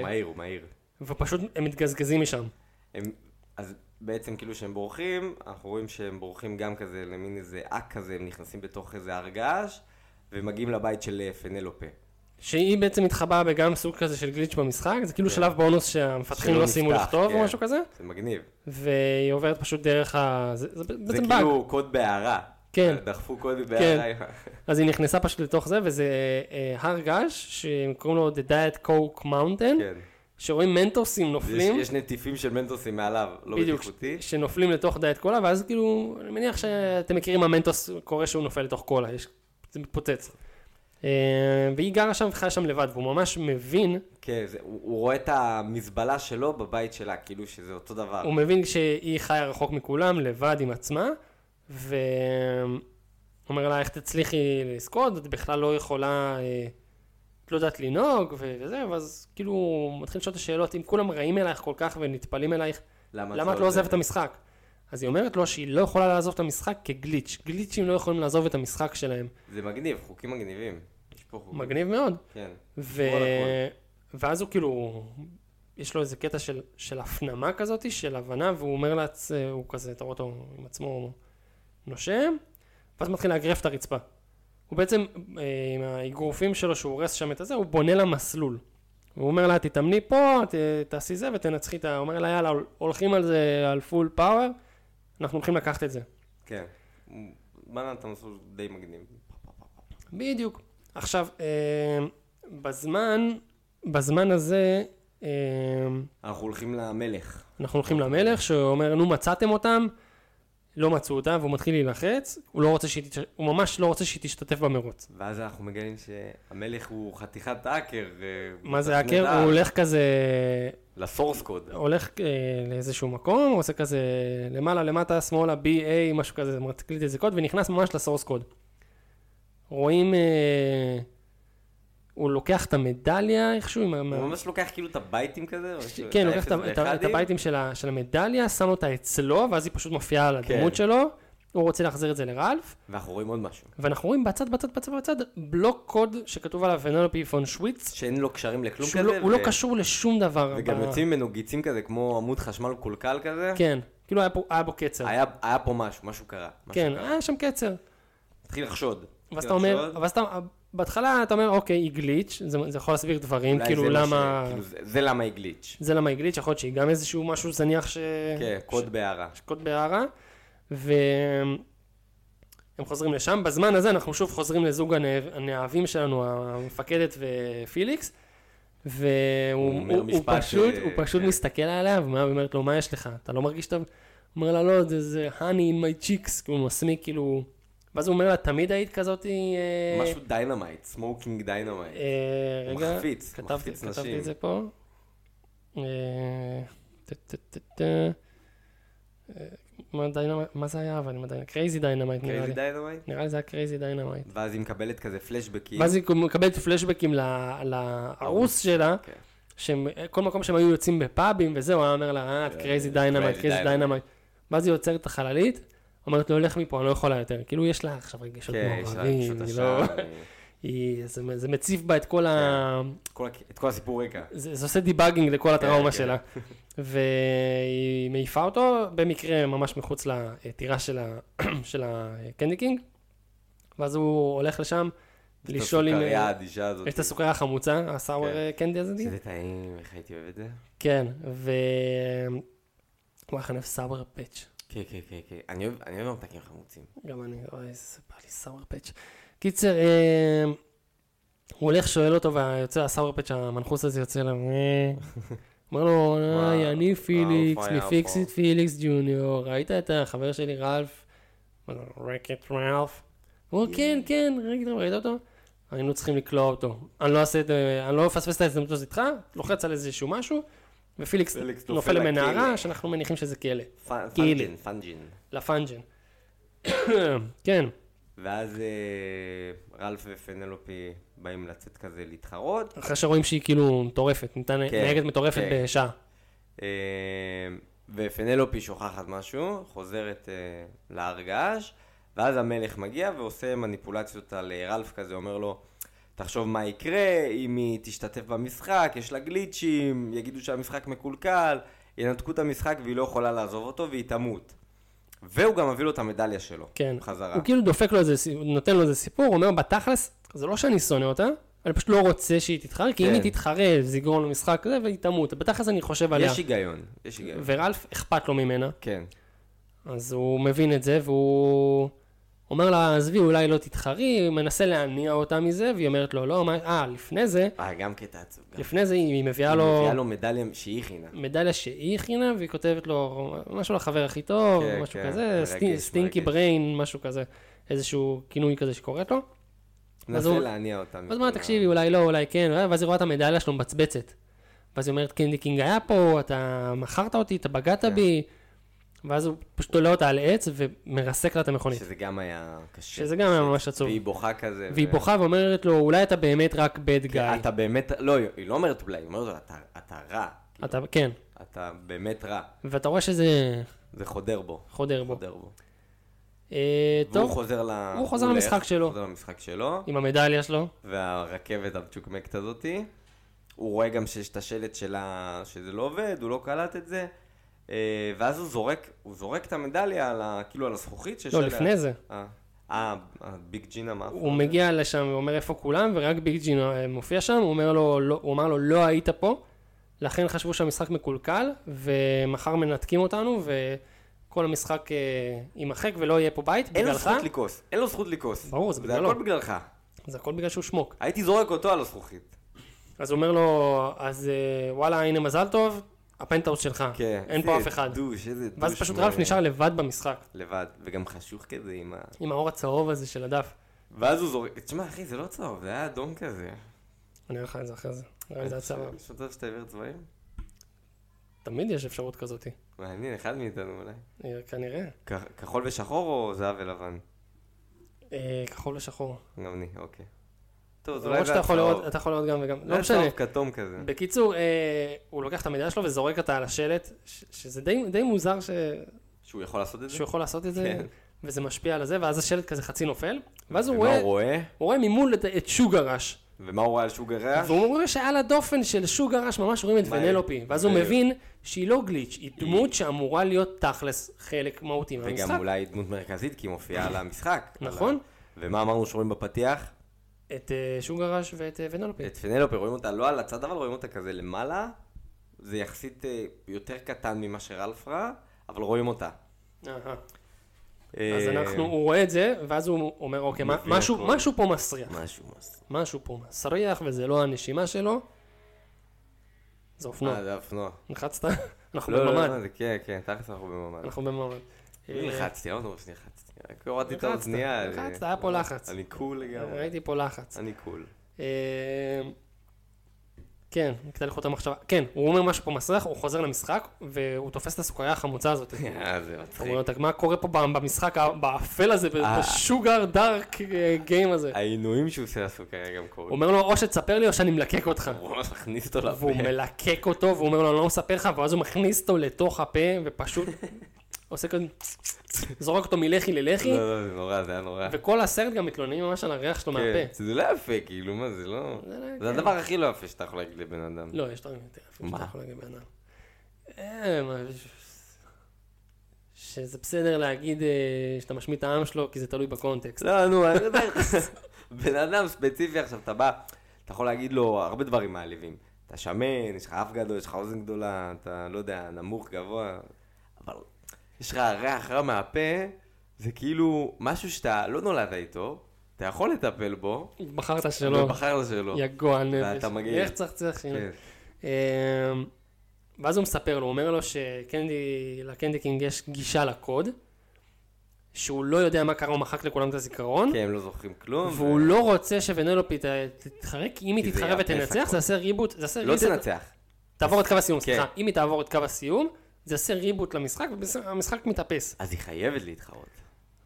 מהיר, הוא מהיר.
ופשוט הם מתגזגזים משם.
הם, אז בעצם כאילו שהם בורחים, אנחנו רואים שהם בורחים גם כזה למין איזה אק כזה, הם נכנסים בתוך איזה הר געש, ומגיעים לבית של אה, פנלופה.
שהיא בעצם מתחבאה בגם סוג כזה של גליץ' במשחק, זה כאילו שלב בונוס שהמפתחים
כן. שלא
לא סיימו
נפתח,
לכתוב
כן.
או משהו כזה,
זה מגניב.
והיא עוברת פשוט דרך ה... זה, זה
זה
בעצם באג.
כאילו קוד בהערה.
כן.
דחפו קוד בהערה.
אז היא נכנסה פשוט לתוך זה, וזה אה, הר געש, שקוראים לו The Diet Coke Mountain,
כן.
שרואים מנטוסים
יש,
נופלים,
יש נטיפים של מנטוסים מעליו, לא
בדיוק,
בטיחותי.
ש- שנופלים לתוך דיאט קולה, ואז כאילו, אני מניח שאתם מכירים מה מנטוס קורה שהוא נופל לתוך קולה, יש, זה מתפוצץ. אה, והיא גרה שם וחיה שם לבד, והוא ממש מבין,
כן, זה, הוא, הוא רואה את המזבלה שלו בבית שלה, כאילו שזה אותו דבר.
הוא מבין שהיא חיה רחוק מכולם, לבד עם עצמה, והוא אומר לה, איך תצליחי לזכות, את בכלל לא יכולה, אה, את לא יודעת לנהוג ו- וזה, ואז כאילו הוא מתחיל לשאול את השאלות, אם כולם רעים אלייך כל כך ונטפלים אלייך, למה את לא עוזבת את המשחק? אז היא אומרת לו שהיא לא יכולה לעזוב את המשחק כגליץ'. גליצ'ים לא יכולים לעזוב את המשחק שלהם.
זה מגניב, חוקים מגניבים. יש פה חוקים.
מגניב מאוד.
כן.
ו...
כל הכל.
ואז הוא כאילו, יש לו איזה קטע של, של הפנמה כזאת, של הבנה, והוא אומר לעצ... הוא כזה, אתה רואה אותו עם עצמו נושם, ואז מתחיל לאגרף את הרצפה. הוא בעצם, אה, עם האגרופים שלו שהוא הורס שם את הזה, הוא בונה לה מסלול. והוא אומר לה, תתאמני פה, ת, תעשי זה ותנצחי את ה... הוא אומר לה, יאללה, הולכים על זה, על פול פאוור, אנחנו הולכים לקחת את זה.
כן. הוא בנה את המסלול די מגניב.
בדיוק. עכשיו, אה, בזמן, בזמן הזה, אה,
אנחנו הולכים למלך.
אנחנו הולכים למלך שאומר, נו מצאתם אותם, לא מצאו אותם, והוא מתחיל להילחץ, הוא לא רוצה שהיא, תתש... הוא ממש לא רוצה שהיא תשתתף במרוץ.
ואז אנחנו מגלים שהמלך הוא חתיכת האקר. אה,
מה זה
מתכנת
האקר?
על.
הוא הולך כזה,
לסורס קוד.
הולך אה, לאיזשהו מקום, הוא עושה כזה למעלה, למטה, שמאלה, BA, משהו כזה, מקליט איזה קוד, ונכנס ממש לסורס קוד. רואים, אה, הוא לוקח את המדליה איכשהו, עם ה-
הוא ממש לוקח כאילו את הבייטים כזה? או
ש-
משהו,
כן, לוקח את
האפס
ה- את ה- את
ואחדים?
הבייטים של ה- של המדליה, שם אותה אצלו, ואז היא פשוט מופיעה על
כן.
הדמות שלו. הוא רוצה להחזיר את זה לרלף,
ואנחנו רואים עוד משהו.
ואנחנו רואים בצד, בצד, בצד, בצד, בלוק קוד שכתוב עליו ונלופי פון שוויץ,
שאין לו קשרים לכלום
שהוא
כזה.
לא- הוא לא
ו-
קשור לשום דבר.
וגם
ב-
יוצאים ממנו גיצים כזה, כמו עמוד חשמל מקולקל כזה.
כן, כאילו היה פה- היה בו קצר.
היה היה פה משהו, משהו קרה. משהו
כן,
קרה.
היה שם קצר.
התחיל לחשוד.
ואז
התחיל
אתה אומר,
לחשוד.
ואז אתה, בהתחלה אתה אומר, אוקיי, היא גליץ', זה זה יכול להסביר דברים,
אולי
כאילו
זה מה ש-
למה,
כאילו, זה- זה למה היא גליץ'.
זה למה היא גליץ', יכול להיות שהיא גם איזשהו משהו זניח ש...
כן, קוד בהערה.
שקוט בהערה, והם חוזרים לשם. בזמן הזה אנחנו שוב חוזרים לזוג הנאב- הנאהבים שלנו, המפקדת ופיליקס, והוא
הוא אומר
הוא, הוא
משפט
פשוט,
ש-
הוא פשוט
כן.
מסתכל עליה, ומה- והיא אומרת לו, מה יש לך? אתה לא מרגיש טוב? הוא אומר לה, לא, זה, זה honey in my cheeks, כאילו, הוא מסמיק, כאילו... ואז הוא אומר לה, תמיד היית כזאת... אה,
משהו דיינמייט, סמוקינג דיינמייט.
אה,
הוא
רגע,
מחפיץ, הוא
כתבתי-
מחפיץ
כתבתי
נשים.
את זה פה. אה, טה, טה, טה, טה. אה, מה דיינמייט- מה זה היה אבל, קרייזי דיינמייט נראה לי.
קרייזי דיינמייט?
נראה לי זה היה קרייזי דיינמייט.
ואז היא מקבלת כזה פלשבקים.
ואז היא מקבלת פלשבקים ל- לערוס שלה,
כן.
שהם- כל מקום שהם היו יוצאים בפאבים וזהו, היה אומר לה, אה, את קרייזי דיינמייט,
כן, Crazy
קרייזי
Dynamite.
דיינמייט. ואז היא עוצרת את החללית, אומרת לו, לך מפה, אני לא יכולה יותר. כאילו, יש לה עכשיו רגשות
כן, יש לה
מעורבים,
פשוט
היא
השער,
לא...
אני-
היא- זה זה מציף בה את כל ה...
כל הק- את כל הסיפור רקע.
זה, זה עושה דיבאגינג לכל הטראומה
כן.
שלה. והיא מעיפה אותו, במקרה ממש מחוץ לטירה של, ה... של הקנדי קינג, ואז הוא הולך לשם לשאול אם...
את הסוכריה האדישה הזאת. כאילו.
יש את הסוכריה החמוצה, הסאוור
כן.
קנדי הזאת.
שזה טעים, איך הייתי אוהב את זה?
כן, ו... וואי, איך אני אוהב סאוור פאץ'.
כן, כן, כן, כן. אני אוהב- אני אוהב ממתקים חמוצים.
גם אני, אוי, זה בא לי סאוור פאץ'. קיצר, אה, הוא הולך, שואל אותו, והיוצא הסאוור פאץ' המנחוס הזה יוצא אליו, אה, אומר לו, היי, אני פיליקס,
האלוף היה
מפיקסיט
פה."
פיליקס ג'וניור, ראית את החבר שלי רלף? אומר לו, רקט רלף. הוא אומר, כן, כן, רקט רלף, ראית אותו? היינו צריכים לקלוע אותו. אני לא אעשה את, אה, אני לא אפספס את ההזדמנות הזאת איתך, לוחץ על איזשהו משהו, ופיליקס
פיליקס נופל
נופל למנהרה,
לכלא.
שאנחנו מניחים שזה כלא,
פ-
כאילו.
פנג'ין, פנג'ין.
לפאנג'ן. כן.
ואז אה, רלף ופנלופי באים לצאת כזה להתחרות.
אחרי שרואים שהיא כאילו מטורפת, ניתן,
כן,
נהגת מטורפת
כן.
בשעה.
אה, ופנלופי שוכחת משהו, חוזרת אה, להר געש, ואז המלך מגיע ועושה מניפולציות על אה, רלף כזה, אומר לו, תחשוב מה יקרה, אם היא תשתתף במשחק, יש לה גליצ'ים, יגידו שהמשחק מקולקל, ינתקו את המשחק והיא לא יכולה לעזוב אותו והיא תמות. והוא גם מביא לו את המדליה שלו,
כן.
חזרה.
הוא כאילו דופק לו איזה, סי- הוא נותן לו איזה סיפור, הוא אומר בתכלס, זה לא שאני שונא אותה, אני פשוט לא רוצה שהיא תתחרה, כי אם
כן.
היא תתחרה, זה יגרום למשחק כזה, והיא תמות. בתכלס אני חושב עליה.
יש היגיון, יש היגיון.
ורלף אכפת לו ממנה,
כן.
אז הוא מבין את זה, והוא... אומר לה, עזבי, אולי לא תתחרי, מנסה להניע אותה מזה, והיא אומרת לו, לא, מה, אה, לפני זה,
אה, גם קטע עצוב. גם.
לפני זה היא היא מביאה
היא
לו
מביאה לו מדליה שהיא הכינה.
מדליה שהיא הכינה, והיא כותבת לו משהו לחבר הכי טוב,
כן,
משהו
כן,
כזה,
מרגש,
סטי- סטינקי
מרגש.
בריין, משהו כזה, איזשהו כינוי כזה שקוראת
נכון.
לו. אז
מנסה
הוא-
להניע אותה.
ואז
מכל
הוא אומר,
ה-
תקשיבי, אולי לא, אולי כן, ואז היא רואה את המדליה שלו מבצבצת. ואז היא אומרת, קינדי קינג היה פה, אתה מכרת אותי, אתה בגעת
כן.
בי. ואז הוא פשוט תולה אותה על עץ ומרסק לה את המכונית.
שזה גם היה קשה.
שזה גם היה ממש עצוב.
והיא בוכה כזה.
והיא
ו-
בוכה ואומרת לו, אולי אתה באמת רק bad
כי
guy.
אתה באמת, לא, היא לא אומרת אולי, היא אומרת לו, "אתה- אתה רע.
אתה, כן.
אתה באמת רע.
ואתה רואה שזה
זה חודר בו.
חודר בו.
חודר בו.
אה,
והוא
טוב,
חוזר ל...
הוא חוזר
הולך,
למשחק שלו.
חוזר למשחק שלו.
עם המדליה שלו.
והרכבת המצ'וקמקת הזאתי. הוא רואה גם שיש את השלט שלה, שזה לא עובד, הוא לא קלט את זה. אה, ואז הוא זורק, הוא זורק את המדליה על ה... כאילו על הזכוכית שיש
לא,
עליה.
לפני זה.
אה, אה, הביג ג'ינה מה?
הוא מגיע לשם ואומר איפה כולם, ורק ביג ג'ין אה, מופיע שם, הוא אומר לו, לא, הוא אמר לו, לא היית פה, לכן חשבו שהמשחק מקולקל, ומחר מנתקים אותנו, וכל המשחק אה, יימחק ולא יהיה פה בית,
אין לו
בגללך,
זכות לכעוס, אין לו זכות לכעוס.
ברור, זה
זה
בגללו.
הכל בגללך.
זה הכל בגלל שהוא שמוק.
הייתי זורק אותו על הזכוכית.
אז הוא אומר לו, אז אה, וואלה, הנה מזל טוב, הפנטהאוס שלך,
כן.
אין
איזה
פה אף אחד.
דוש, איזה דוש.
ואז פשוט
מ-
רלף נשאר לבד במשחק,
לבד, וגם חשוך כזה עם ה...
עם האור הצהוב הזה של הדף.
ואז הוא זורק, תשמע אחי, זה לא צהוב, זה היה אדום כזה.
אני אראה לך את זה אחרי זה, נראה לי אה, זה הצבא.
יש מצב שאתה עיוור צבעים?
תמיד יש אפשרות כזאת,
מעניין, אחד מאיתנו אולי.
אה, כנראה.
כ- כחול ושחור או זהב ולבן?
אה, כחול ושחור.
גם אני, אוקיי. טוב, אז אולי
למרות
זה
שאתה יכול
הצהוב.
לראות, אתה יכול לראות גם וגם,
זה
לא משנה.
הצהוב כתום כזה.
בקיצור, אה, הוא לוקח את המדינה שלו וזורק אותה על השלט, ש- שזה די, די מוזר ש,
שהוא יכול לעשות את זה?
שהוא יכול לעשות את זה,
כן.
וזה משפיע על זה, ואז השלט כזה חצי נופל, ואז הוא
ומה
רואה,
הוא רואה?
הוא רואה ממול את, את שוגר אש,
ומה הוא רואה על שהוא גרח?
והוא רואה שעל הדופן של שוגר אש ממש רואים את
אה? מה,
ונלופי, ואז הוא
בדיוק.
מבין שהיא לא גליץ', היא דמות שאמורה להיות תכלס חלק מהותי מהמשחק.
וגם אולי דמות מרכזית, כי היא מופיעה על המשחק.
נכון.
ומה אמרנו שרואים בפתיח?
את אה, שוגר אש ואת אה, ונלופי.
את פנלופי, רואים אותה לא על הצד, אבל רואים אותה כזה למעלה. זה יחסית אה, יותר קטן ממה שרלף ראה, אבל רואים אותה.
אהה. אז
אה,
אנחנו, הוא רואה את זה, ואז הוא אומר, אוקיי, מה-
מבין
משהו
הכל.
משהו פה מסריח.
משהו, משהו.
משהו פה מסריח וזה לא הנשימה שלו. זה אופנוע.
אה, זה אופנוע.
נחצת? אנחנו
לא, לא,
בממ"ד.
לא, זה כן, כן, תכלס אנחנו בממ"ד.
אנחנו בממ"ד.
אני
אה,
לחצתי, לא נורא שנלחצתי. רק הורדתי את
לחצת,
האוזנייה.
לחצת,
אה,
היה פה לחץ. אה,
אני קול לגמרי.
ראיתי פה לחץ.
אני קול.
אה, כן, נקטע לך את המחשבה. כן, הוא אומר משהו פה מסריח, הוא חוזר למשחק, והוא תופס את הסוכריה החמוצה הזאת. הוא
אה, זה מצחיק.
אומר, "אתה- מה קורה פה במשחק ה- באפל הזה,
אה.
בשוגר דארק אה, גיים הזה?
העינויים שהוא עושה לעשות כרגע גם
הוא
קורים.
אומר לו, או שתספר לי או שאני מלקק אותך.
הוא ממש מכניס אותו לפה. לא,
והוא מלקק אותו, והוא אומר לו, אני לא מספר לך, ואז הוא מכניס אותו לתוך הפה, ופשוט עושה כזה, זורק אותו מלחי ללחי,
לא, לא, זה נורא, זה היה נורא.
וכל הסרט גם מתלוננים ממש על הריח שלו
כן,
מהפה.
זה לא יפה, כאילו, מה זה לא...
זה לא-
זה הדבר הכי לא יפה שאתה יכול להגיד לבן אדם.
לא, יש דברים יותר יפים שאתה
מה?
יכול להגיד בעיניו. אה, מה, ש- שזה בסדר להגיד אה, שאתה משמיט את העם שלו, כי זה תלוי בקונטקסט.
לא, נו, אני יודע. בן אדם ספציפי עכשיו, אתה בא, אתה יכול להגיד לו הרבה דברים מעליבים. אתה שמן, יש לך אף גדול, יש לך אוזן גדולה, אתה, לא יודע, נמוך, גבוה, אבל יש לך ריח רע מהפה, זה כאילו משהו שאתה לא נולדת איתו, אתה יכול לטפל בו,
בחרת שלא,
ובחר שלו.
יא גועל נפש.
לא. ואתה מגעיל.
איך צריך צריך שינוי?
כן.
אמ, ואז הוא מספר לו, הוא אומר לו שקנדי, לקנדי קינג יש גישה לקוד, שהוא לא יודע מה קרה, הוא מחק לכולם את הזיכרון,
כי הם לא זוכרים כלום.
והוא
ו-
לא רוצה שוונלופי ת- תתחרה, כי אם היא
כי זה
תתחרה
יעקף
ותנצח,
הכל.
זה יעשה ריבוט, זה יעשה
לא
reset-
תנצח.
תעבור את קו הסיום,
כן.
סליחה, אם היא תעבור את קו הסיום, זה יעשה ריבוט למשחק, והמשחק מתאפס.
אז היא חייבת להתחרות.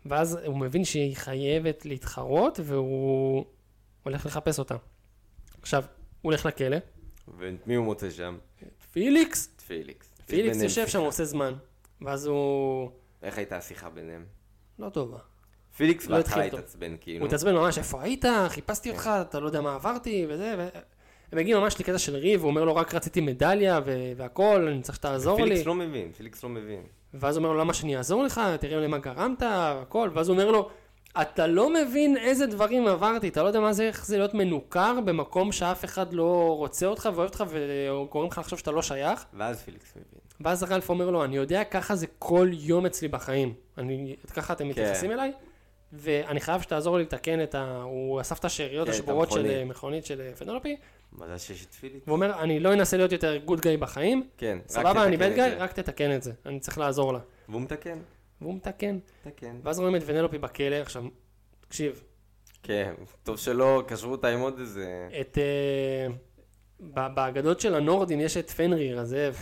ואז הוא מבין שהיא חייבת להתחרות, והוא הולך לחפש אותה. עכשיו, הוא הולך לכלא,
ואת מי הוא מוצא שם?
פיליקס
את פיליקס.
פיליקס
ביניהם
יושב שם,
שיחה.
הוא עושה זמן. ואז הוא...
איך הייתה השיחה ביניהם? לא
טובה.
פיליקס
לא
בהתחלה
התחיל טוב.
התעצבן, כאילו.
הוא התעצבן ממש, איפה היית?
כן.
חיפשתי אותך, אתה לא יודע מה עברתי, וזה, ו... הם מגיעים ממש לקטע של ריב, הוא אומר לו, רק רציתי מדליה ו- והכל, אני צריך שתעזור לי.
פיליקס לא מבין, פיליקס לא מבין.
ואז הוא אומר לו, למה שאני אעזור לך? תראה למה גרמת, והכל. ואז הוא אומר לו, אתה לא מבין איזה דברים עברתי, אתה לא יודע מה זה, איך זה להיות מנוכר במקום שאף אחד לא רוצה אותך ואוהב אותך וגורם לך לחשוב שאתה לא שייך.
ואז פיליקס מבין.
ואז
כן.
רלף אומר לו, אני יודע, ככה זה כל יום אצלי בחיים. אני, ככה אתם מתייחסים אליי? ואני חייב שתעזור לי לתקן את ה... הוא אסף את השאריות
כן, את
השבורות של
המכונית.
אה, מכונית של אה, פנולופי,
מזל שיש את פיליפ.
והוא אומר, אני לא אנסה להיות יותר גוד גיא בחיים,
כן, רק
סבבה, אני
תתקן
בד
את
גיא,
זה.
רק תתקן את זה, אני צריך לעזור לה.
והוא מתקן,
והוא מתקן.
מתקן.
ואז רואים את ונלופי בכלא, עכשיו, תקשיב,
כן, טוב שלא קשרו אותה עם עוד איזה...
את... אה, ב- באגדות של הנורדים יש את פנריר, הזאב.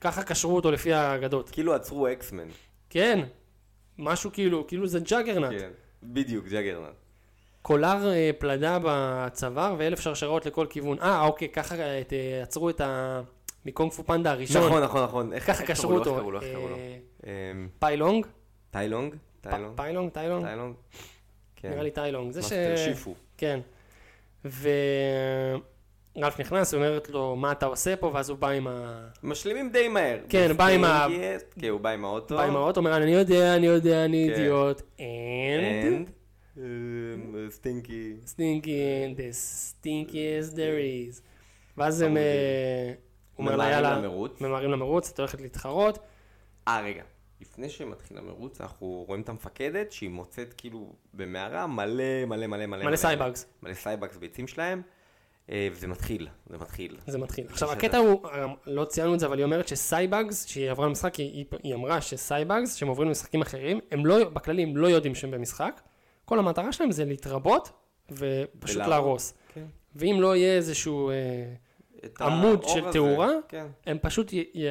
ככה קשרו אותו לפי האגדות.
כאילו עצרו אקסמן.
כן, משהו כאילו, כאילו זה ג'אגרנט.
כן, בדיוק, ג'אגרנט.
קולר אה, פלדה בצוואר ואלף שרשרות לכל כיוון. אה, אוקיי, ככה אה, את, אה, עצרו את ה... מקונג פו פנדה הראשון.
נכון, נכון, נכון. איך
ככה
איך
קשרו
קראו לו, איך
אותו.
קראו לו, איך קראו לו?
אה,
אמ,
פיילונג?
טיילונג?
פ-
טיילונג?
פיילונג? טיילונג?
טיילונג? כן.
נראה לי טיילונג. זה ש...
מאסטר שיפו.
כן. ורלף נכנס, היא אומרת לו, מה אתה עושה פה? ואז הוא בא עם, ה...
משלימים די מהר.
כן, בא עם ה-
Yes, כן, הוא בא עם האוטו.
בא עם האוטו, אומר, אני יודע, אני יודע, אני
כן.
אידיוט. And...
And? אמ, סטינקי.
stinking, the stinkiest there is. ואז הם... אה, הוא אומר לה,
ממהרים
יאללה,
למרוץ."
ממהרים למרוץ, את הולכת להתחרות.
אה, רגע. לפני שמתחיל המרוץ, אנחנו רואים את המפקדת שהיא מוצאת כאילו במערה מלא מלא מלא מלא
מלא סייבאגס.
מלא סייבאגס ביצים שלהם, אה, וזה מתחיל, זה מתחיל.
זה מתחיל. עכשיו, הקטע הוא, אה, לא ציינו את זה, אבל היא אומרת שסייבאגס, שהיא עברה למשחק, היא, היא- היא אמרה שסייבאגס, שהם עוברים למשחקים אחרים, הם לא, בכללי הם לא יודעים שהם במשחק. כל המטרה שלהם זה להתרבות ופשוט
ולהרוג.
להרוס.
כן.
ואם לא יהיה איזשהו... אה,
את
עמוד
האור
של
הזה,
תאורה?
כן.
הם פשוט י, י,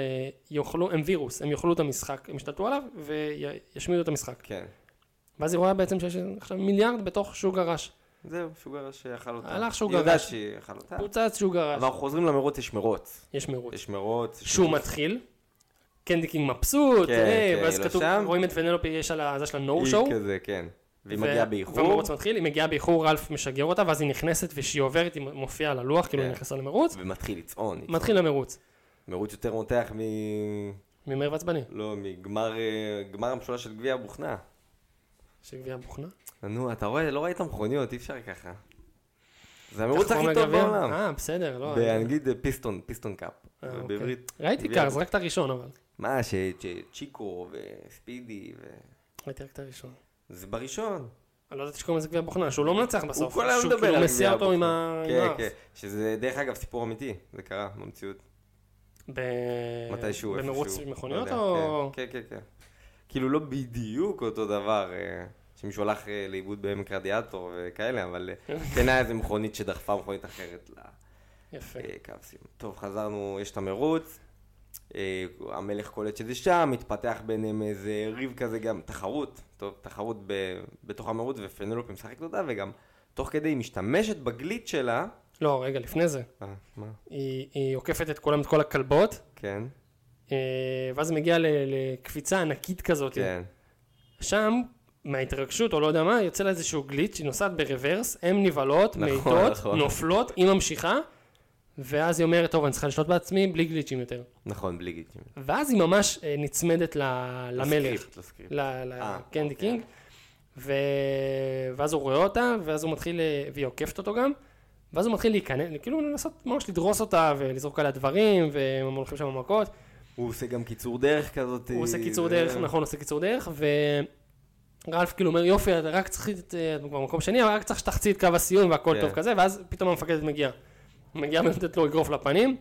יאכלו, הם וירוס, הם יאכלו את המשחק, הם ישתלטו עליו וישמידו את המשחק.
כן.
ואז היא רואה בעצם שיש עכשיו מיליארד בתוך שוק הרש.
זהו, שוגר שאכל אותה.
הלך שוגר
היא יודעת
ש-
שהיא אכל אותה.
פוצץ שוק הרש.
אבל אנחנו חוזרים למרוץ, יש מרוץ.
יש מירוץ.
יש מרוץ. יש
שהוא
מרוץ.
מתחיל, קנדי קינג מבסוט,
כן,
אה,
כן,
ואז
היא לא
כתוב,
שם.
רואים את ונלופי, יש על ה- זה שלה נו
היא
שואו.
כזה, כן. והיא
ו-
מגיעה באיחור,
והמרוץ מתחיל, היא מגיעה באיחור, רלף משגר אותה, ואז היא נכנסת, וכשהיא עוברת היא מופיעה על הלוח, כאילו
כן.
היא נכנסה למרוץ.
ומתחיל לצעון.
מתחיל המרוץ.
מרוץ יותר מותח מ...
ממהר ועצבני,
לא, מגמר אה, גמר המשולש של גביע הבוכנה.
שגביע בוכנה.
נו, אתה רואה, לא ראית מכוניות, אי אפשר ככה. זה המרוץ הכי
תחרום
טוב
לגביע.
בעולם.
אה, בסדר, לא.
באנגלית זה פיסטון, פיסטון קאפ.
אה, אוקיי.
בעברית.
ראיתי
גביע
קארס, רק את הראשון אבל.
מה, שצ'יקו וספידי ו...
ראיתי רק את הראשון.
זה בראשון.
אני לא ידעתי שקוראים לזה גביע בוכנה, שהוא לא מנצח בסוף.
הוא כל היום
שהוא
מדבר
כאילו
על
מסיע
גביע
אותו עם ה...
הבוכנה.
עם
כן,
האף.
כן. שזה, דרך אגב, סיפור אמיתי. זה קרה במציאות.
ב...
מתישהו, איפשהו.
אה, במרוץ
לא
מכוניות
יודע,
או...
כן, כן, כן. כן. כאילו לא בדיוק אותו דבר, אה, שמישהו הלך אה, לאיבוד בעמק רדיאטור וכאלה, אבל אה, כן היה איזה מכונית שדחפה מכונית אחרת כן.
יפה.
לקו אה, סיום. טוב, חזרנו, יש את המרוץ. אה, המלך קולט שזה שם, מתפתח ביניהם איזה ריב כזה גם, תחרות, טוב, תחרות ב, בתוך המרוץ ופנלופ משחקת אותה וגם תוך כדי היא משתמשת בגליט שלה,
לא, רגע, לפני זה.
אה, מה?
היא, היא עוקפת את כולם, את כל הכלבות,
כן,
אה, ואז מגיעה ל- לקפיצה ענקית כזאת.
כן,
שם, מההתרגשות או לא יודע מה, יוצא לה איזשהו גליץ', היא נוסעת ברוורס, הן נבהלות,
נכון,
מעיטות,
נכון.
נופלות, היא ממשיכה, ואז היא אומרת, טוב, אני צריכה לשלוט בעצמי בלי גליצ'ים יותר.
נכון, בלי לא גיטים.
ואז היא ממש אה, נצמדת ל- למלך.
לסקריפט, לסקריפט. אה,
לקנדי
אוקיי.
קינג, ו... ואז הוא רואה אותה, ואז הוא מתחיל, אה, והיא עוקפת אותו גם, ואז הוא מתחיל להיכנס, כאילו לנסות ממש לדרוס אותה ולזרוק עליה דברים, והם הולכים שם מכות,
הוא עושה גם קיצור דרך כזאת. אה,
הוא עושה קיצור
זה-
דרך, נכון, עושה קיצור דרך, ורלף כאילו אומר, יופי, את רק צריך, את את כבר במקום שני, אבל רק צריך שתחצי את קו הסיום והכל
כן.
טוב כזה, ואז פתאום המפקדת מגיעה. מגיעה ונותנת לו אגרוף לפנים,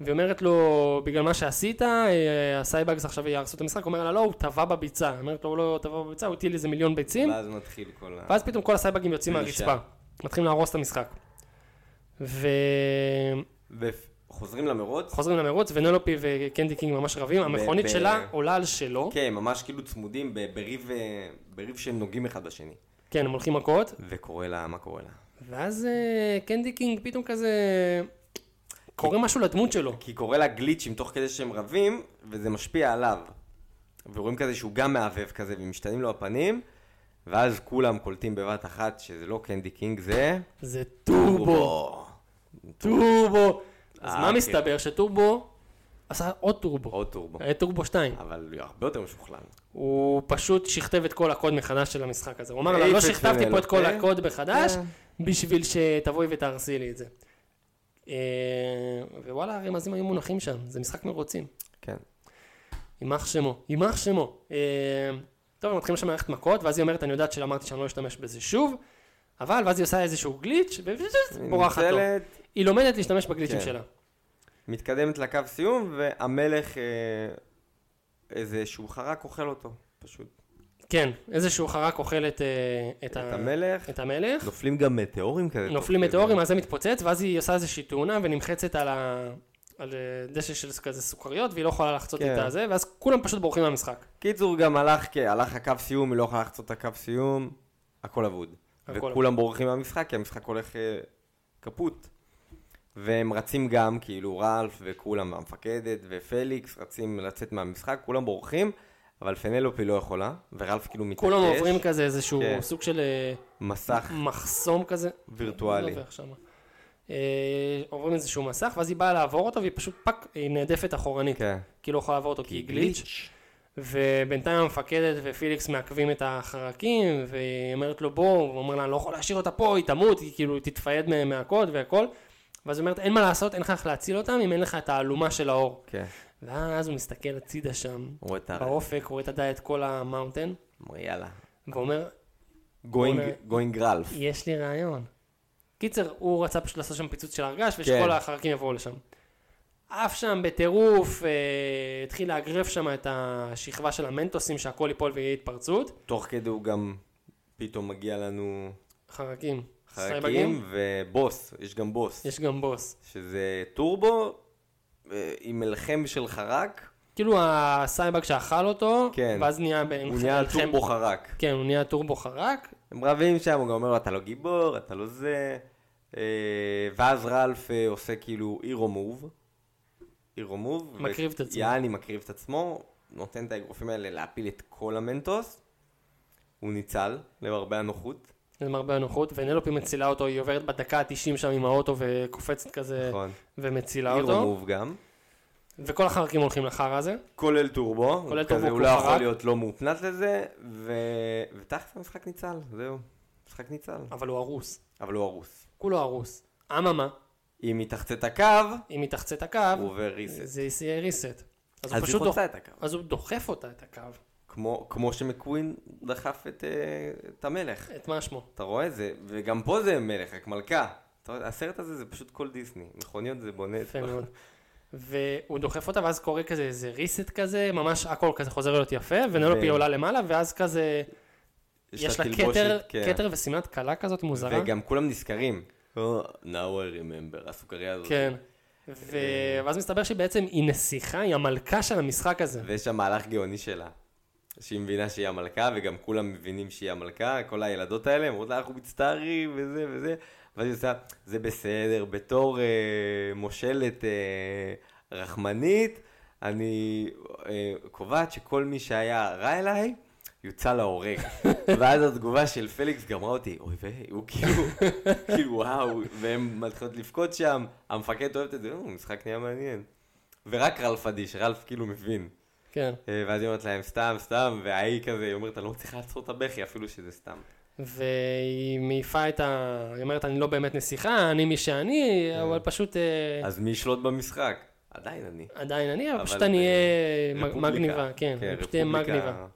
ואומרת לו, בגלל מה שעשית, אה, הסייבאגס עכשיו יהרסו את המשחק, הוא אומר לה, לא, הוא טבע בביצה. אומרת לו, הוא לא טבע בביצה, הוא הטיל איזה מיליון ביצים,
ואז מתחיל כל ה...
ואז פתאום כל הסייבאגים יוצאים
פלישה.
מהרצפה. מתחילים להרוס את המשחק. וחוזרים
וחוזרים למרוץ.
למרוץ, ונלופי וקנדי קינג ממש רבים, המכונית
ב-
שלה עולה על שלו.
כן, הם ממש כאילו צמודים ב- בריב, אה, בריב שהם נוגעים אחד בשני.
כן, הם הולכים מכות,
וקורה לה, מה קורה לה?
ואז אה, קנדי קינג פתאום כזה... קורה משהו לדמות שלו.
כי קורה לה גליצ'ים תוך כדי שהם רבים, וזה משפיע עליו. ורואים כזה שהוא גם מעבב כזה, ומשתנים לו הפנים, ואז כולם קולטים בבת אחת שזה לא קנדי קינג, זה...
זה טורבו, טורבו. אז
אה,
מה
אוקיי.
מסתבר? שטורבו עשה עוד טורבו.
עוד טורבו.
היה טורבו 2.
אבל הוא הרבה יותר משוכלל.
הוא פשוט שכתב את כל הקוד מחדש של המשחק הזה. הוא אמר,
העיף
"אבל לא
את
שכתבתי פה את כל
פנלופי."
הקוד מחדש,
כן.
בשביל שתבואי ותהרסי לי את זה. אה, ווואלה, הרמזים היו מונחים שם, זה משחק מרוצים.
כן.
יימח שמו, יימח שמו. אה, טוב, הם מתחילים שם מערכת מכות, ואז היא אומרת, אני יודעת שאמרתי שאני לא אשתמש בזה שוב, אבל, ואז היא עושה איזשהו גליץ',
היא
ובורחת לו.
נופלת,
היא לומדת להשתמש בגליצ'ים
כן.
שלה.
מתקדמת לקו סיום, והמלך, אה, איזה שהוא חרק אוכל אותו, פשוט.
כן, איזשהו חרק אוכל את, אה, את,
את
ה-
המלך. לא,
את המלך,
נופלים גם מטאורים כזה.
נופלים
תוך כדי.
מטאורים, אז זה מתפוצץ, ואז היא עושה איזושהי תאונה ונמחצת על, ה... על אה, דשא של כזה סוכריות, והיא לא יכולה לחצות
כן.
את הזה, ואז כולם פשוט בורחים מהמשחק.
קיצור, גם הלך, כן, הלך הקו סיום, היא לא יכולה לחצות את הקו סיום, הכל אבוד.
הכל
וכולם בורחים מהמשחק, כי המשחק הולך אה, קפוט. והם רצים גם, כאילו, רלף וכולם, המפקדת ופליקס, רצים לצאת מהמשחק, כולם בורחים, אבל פנלופי לא יכולה, ורלף כאילו מתעקש.
כולם עוברים כזה איזשהו
כן.
סוג של אה,
מסך
מחסום כזה.
וירטואלי.
לא עובר שמה. אה, עוברים איזשהו מסך, ואז היא באה לעבור אותו, והיא פשוט פאק, היא נעדפת אחורנית.
כן.
כי לא יכולה לעבור אותו כי היא גליץ'. ובינתיים המפקדת ופיליקס מעכבים את החרקים, והיא אומרת לו בוא, הוא אומר לה, אני לא יכול להשאיר אותה פה, היא תמות, היא כאילו תתפייד מה- מהקוד והכל. ואז היא אומרת, אין מה לעשות, אין לך איך להציל אותם אם אין לך את האלומה של האור.
כן.
ואז הוא מסתכל הצידה שם,
הוא רואה את ה...
באופק, רואה את הדיאט כל המאונטן,
אומר, יאללה.
ואומר,
גוינג- גוינג רלף.
יש לי רעיון. קיצר, הוא רצה פשוט לעשות שם פיצוץ של הרגש,
כן.
ושכל החרקים יבואו לשם. עף שם בטירוף, אה, התחיל לאגרף שם את השכבה של המנטוסים, שהכל ייפול ויהיה התפרצות.
תוך כדי הוא גם פתאום מגיע לנו
חרקים. סייבגים.
חרקים ובוס, יש גם בוס.
יש גם בוס.
שזה טורבו אה, עם מלחם של חרק,
כאילו הסייבג שאכל אותו,
כן.
ואז נהיה... ב-
הוא נהיה
מלחמת-
טורבו חרק.
כן, הוא נהיה טורבו חרק.
הם רבים שם, הוא גם אומר לו, אתה לא גיבור, אתה לא זה. אה, ואז רלף אה, עושה כאילו אירו מוב. אירו מוב.
מקריב את עצמו.
יעני מקריב את עצמו, נותן את האגרופים האלה להפיל את כל המנטוס. הוא ניצל, למרבה הנוחות.
למרבה הנוחות, ונלופי מצילה אותו, היא עוברת בדקה ה-90 שם עם האוטו וקופצת כזה,
נכון.
ומצילה
אירו
אותו.
מוב גם.
וכל החרקים הולכים לחרא הזה.
כולל טורבו.
כולל
הוא כזה,
טורבו,
הוא
כמו
לא יכול
חרק.
להיות לא מופנט לזה, ו... ותכף המשחק ניצל, זהו. משחק ניצל.
אבל הוא הרוס.
אבל הוא הרוס.
כולו הרוס. אממה,
אם היא תחצה את הקו,
אם היא תחצה את הקו,
הוא עובר ריסט.
זה יהיה ריסט. אז,
אז
הוא
היא
פשוט לא. דוח...
חוצה את הקו.
אז הוא דוחף אותה, את הקו.
כמו, כמו שמקווין דחף את, אה, את המלך.
את מה שמו?
אתה רואה את זה? וגם פה זה מלך, רק מלכה. אתה רואה, הסרט הזה זה פשוט כל דיסני. מכוניות זה בונה את
יפה מאוד. והוא דוחף אותה, ואז קורה כזה איזה ריסט כזה, ממש הכל כזה חוזר להיות יפה, ונלופי
ו-
עולה למעלה, ואז כזה, יש לה
תלבושת,
כתר,
כן.
כתר ושמלת כלה כזאת מוזרה.
וגם כולם נזכרים. Oh, now I remember, הסוכריה הזאת.
כן. ו...
אה.
ואז מסתבר שהיא בעצם, היא נסיכה, היא המלכה של המשחק הזה.
ויש שם מהלך גאוני שלה. שהיא מבינה שהיא המלכה, וגם כולם מבינים שהיא המלכה, כל הילדות האלה, אומרות לה, אנחנו מצטערים, וזה וזה, ואז היא עושה, זה בסדר, בתור אה, מושלת אה, רחמנית, אני אה, קובעת שכל מי שהיה רע אליי, יוצא להורג. ואז התגובה של פליקס גמרה אותי, אוי ואי, הוא כאילו, כאילו וואו, והן מתחילות לבכות שם, המפקד אוהבת את זה, "אה, משחק נהיה מעניין. ורק רלף אדיש, רלף כאילו מבין.
כן.
אה, ואז היא אומרת להם סתם, סתם, וההיא כזה, היא אומרת, אני לא מצליחה לעצור את הבכי, אפילו שזה סתם.
והיא מעיפה את ה... היא אומרת, אני לא באמת נסיכה, אני מי שאני, אבל פשוט... אה,
אז מי ישלוט במשחק? עדיין אני.
עדיין אני, אבל
אבל
פשוט אני
ב-
אהיה מג-
רפובליקה.
אה, מגניבה, כן, אני פשוט אהיה
רפובליקה
מגניבה.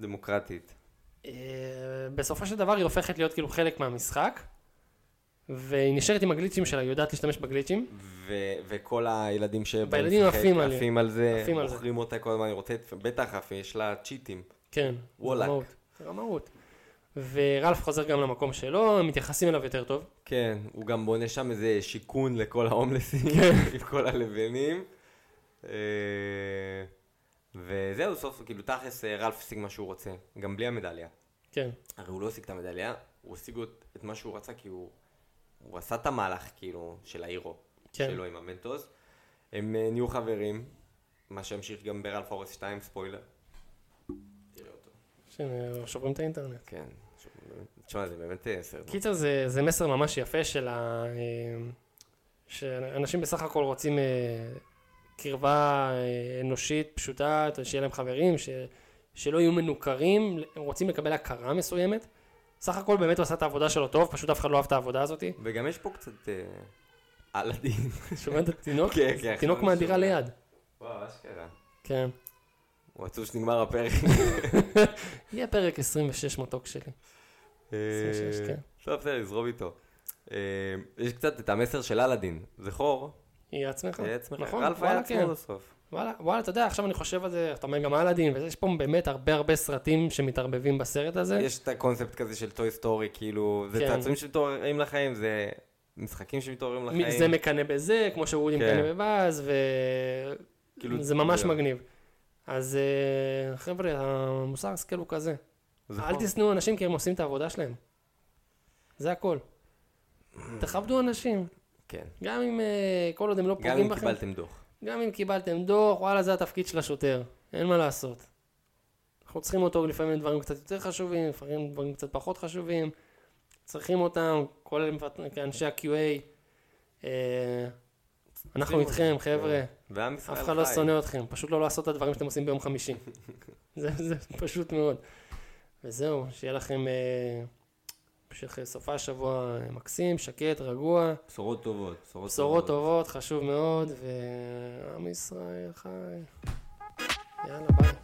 דמוקרטית.
אה, בסופו של דבר היא הופכת להיות כאילו חלק מהמשחק, והיא נשארת עם הגליצ'ים שלה, היא יודעת להשתמש בגליצ'ים,
ו- וכל הילדים ש...
והילדים עפים עליה.
עפים על זה,
עפים על זה.
מוכרים אותה כל הזמן, היא רוצה... את- בטח עפים, יש לה צ'יטים.
כן,
וואלק.
רמאות, רמאות. ורלף חוזר גם למקום שלו, הם מתייחסים אליו יותר טוב,
כן, הוא גם בונה שם איזה שיכון לכל ההומלסים,
כן.
עם כל הלבנים. אה, וזהו, סוף, כאילו, תכלס, אה, רלף השיג מה שהוא רוצה, גם בלי המדליה.
כן,
הרי הוא לא השיג את המדליה, הוא השיג את- את מה שהוא רצה, כי הוא, הוא עשה את המהלך, כאילו, של האירו,
כן.
כן. שלו עם המנטוס. הם אה, נהיו חברים, מה שהמשיך גם ברלף אורס 2, ספוילר. תראה אותו.
ששוברים את האינטרנט.
כן, ש- תשמע, זה באמת אה, סרט.
קיצר, זה, זה מסר ממש יפה של ה... אה, שאנשים בסך הכל רוצים אה, קרבה אה, אנושית פשוטה, שיהיה להם חברים, ש... שלא יהיו מנוכרים, הם רוצים לקבל הכרה מסוימת. סך הכל באמת הוא עשה את העבודה שלו טוב, פשוט אף אחד לא אהב את העבודה הזאת.
וגם יש פה קצת אה, על הדין.
שומע את התינוק?
כן, כן,
תינוק
עכשיו אני
מהדירה
שומע.
ליד.
וואו, אשכרה.
כן.
הוא עצוב שנגמר הפרק.
יהיה פרק 26 מתוק שלי. 26, כן.
אה, טוב, בסדר, נזרום איתו. אה, יש קצת את המסר של אלאדין. זכור,
יהיה עצמך.
תהיה עצמך.
נכון,
רלף היה
וואלה, כן.
עצמו בסוף.
וואלה, וואלה, אתה יודע, עכשיו אני חושב על זה, אתה אומר גם אלאדין, ויש פה באמת הרבה הרבה סרטים שמתערבבים בסרט הזה.
יש את הקונספט כזה של טוי סטורי, כאילו, זה
כן.
צעצועים שמתעוררים לחיים, זה משחקים שמתעוררים
מי-
לחיים.
זה מקנא בזה, כמו שוודי
כן.
מקנא בבאז, ו...
כאילו,
זה ממש
זה-
מגניב. אז אה, חבר'ה, המוסר ההשכל הוא כזה.
זכור.
אל תשנאו אנשים כי הם עושים את העבודה שלהם. זה הכל.
Mm.
תכבדו אנשים,
כן.
גם אם אה, כל עוד הם לא
גם
פוגעים
אם
בכם,
קיבלתם דוח.
גם אם קיבלתם דוח, וואלה זה התפקיד של השוטר, אין מה לעשות. אנחנו צריכים אותו לפעמים לדברים קצת יותר חשובים, לפעמים דברים קצת פחות חשובים, צריכים אותם, כל אנשי ה-QA. אה, אנחנו
צריכים
איתכם,
אותם,
חבר'ה.
ועם ישראל
אף אחד לא
חי.
שונא אתכם, פשוט לא לעשות את הדברים שאתם עושים ביום חמישי. זה, זה פשוט מאוד. וזהו, שיהיה לכם אה, המשך אה, סופה שבוע אה, מקסים, שקט, רגוע,
בשורות טובות. בשורות
בשורות טובות, חשוב מאוד, ועם ישראל חי. יאללה, ביי.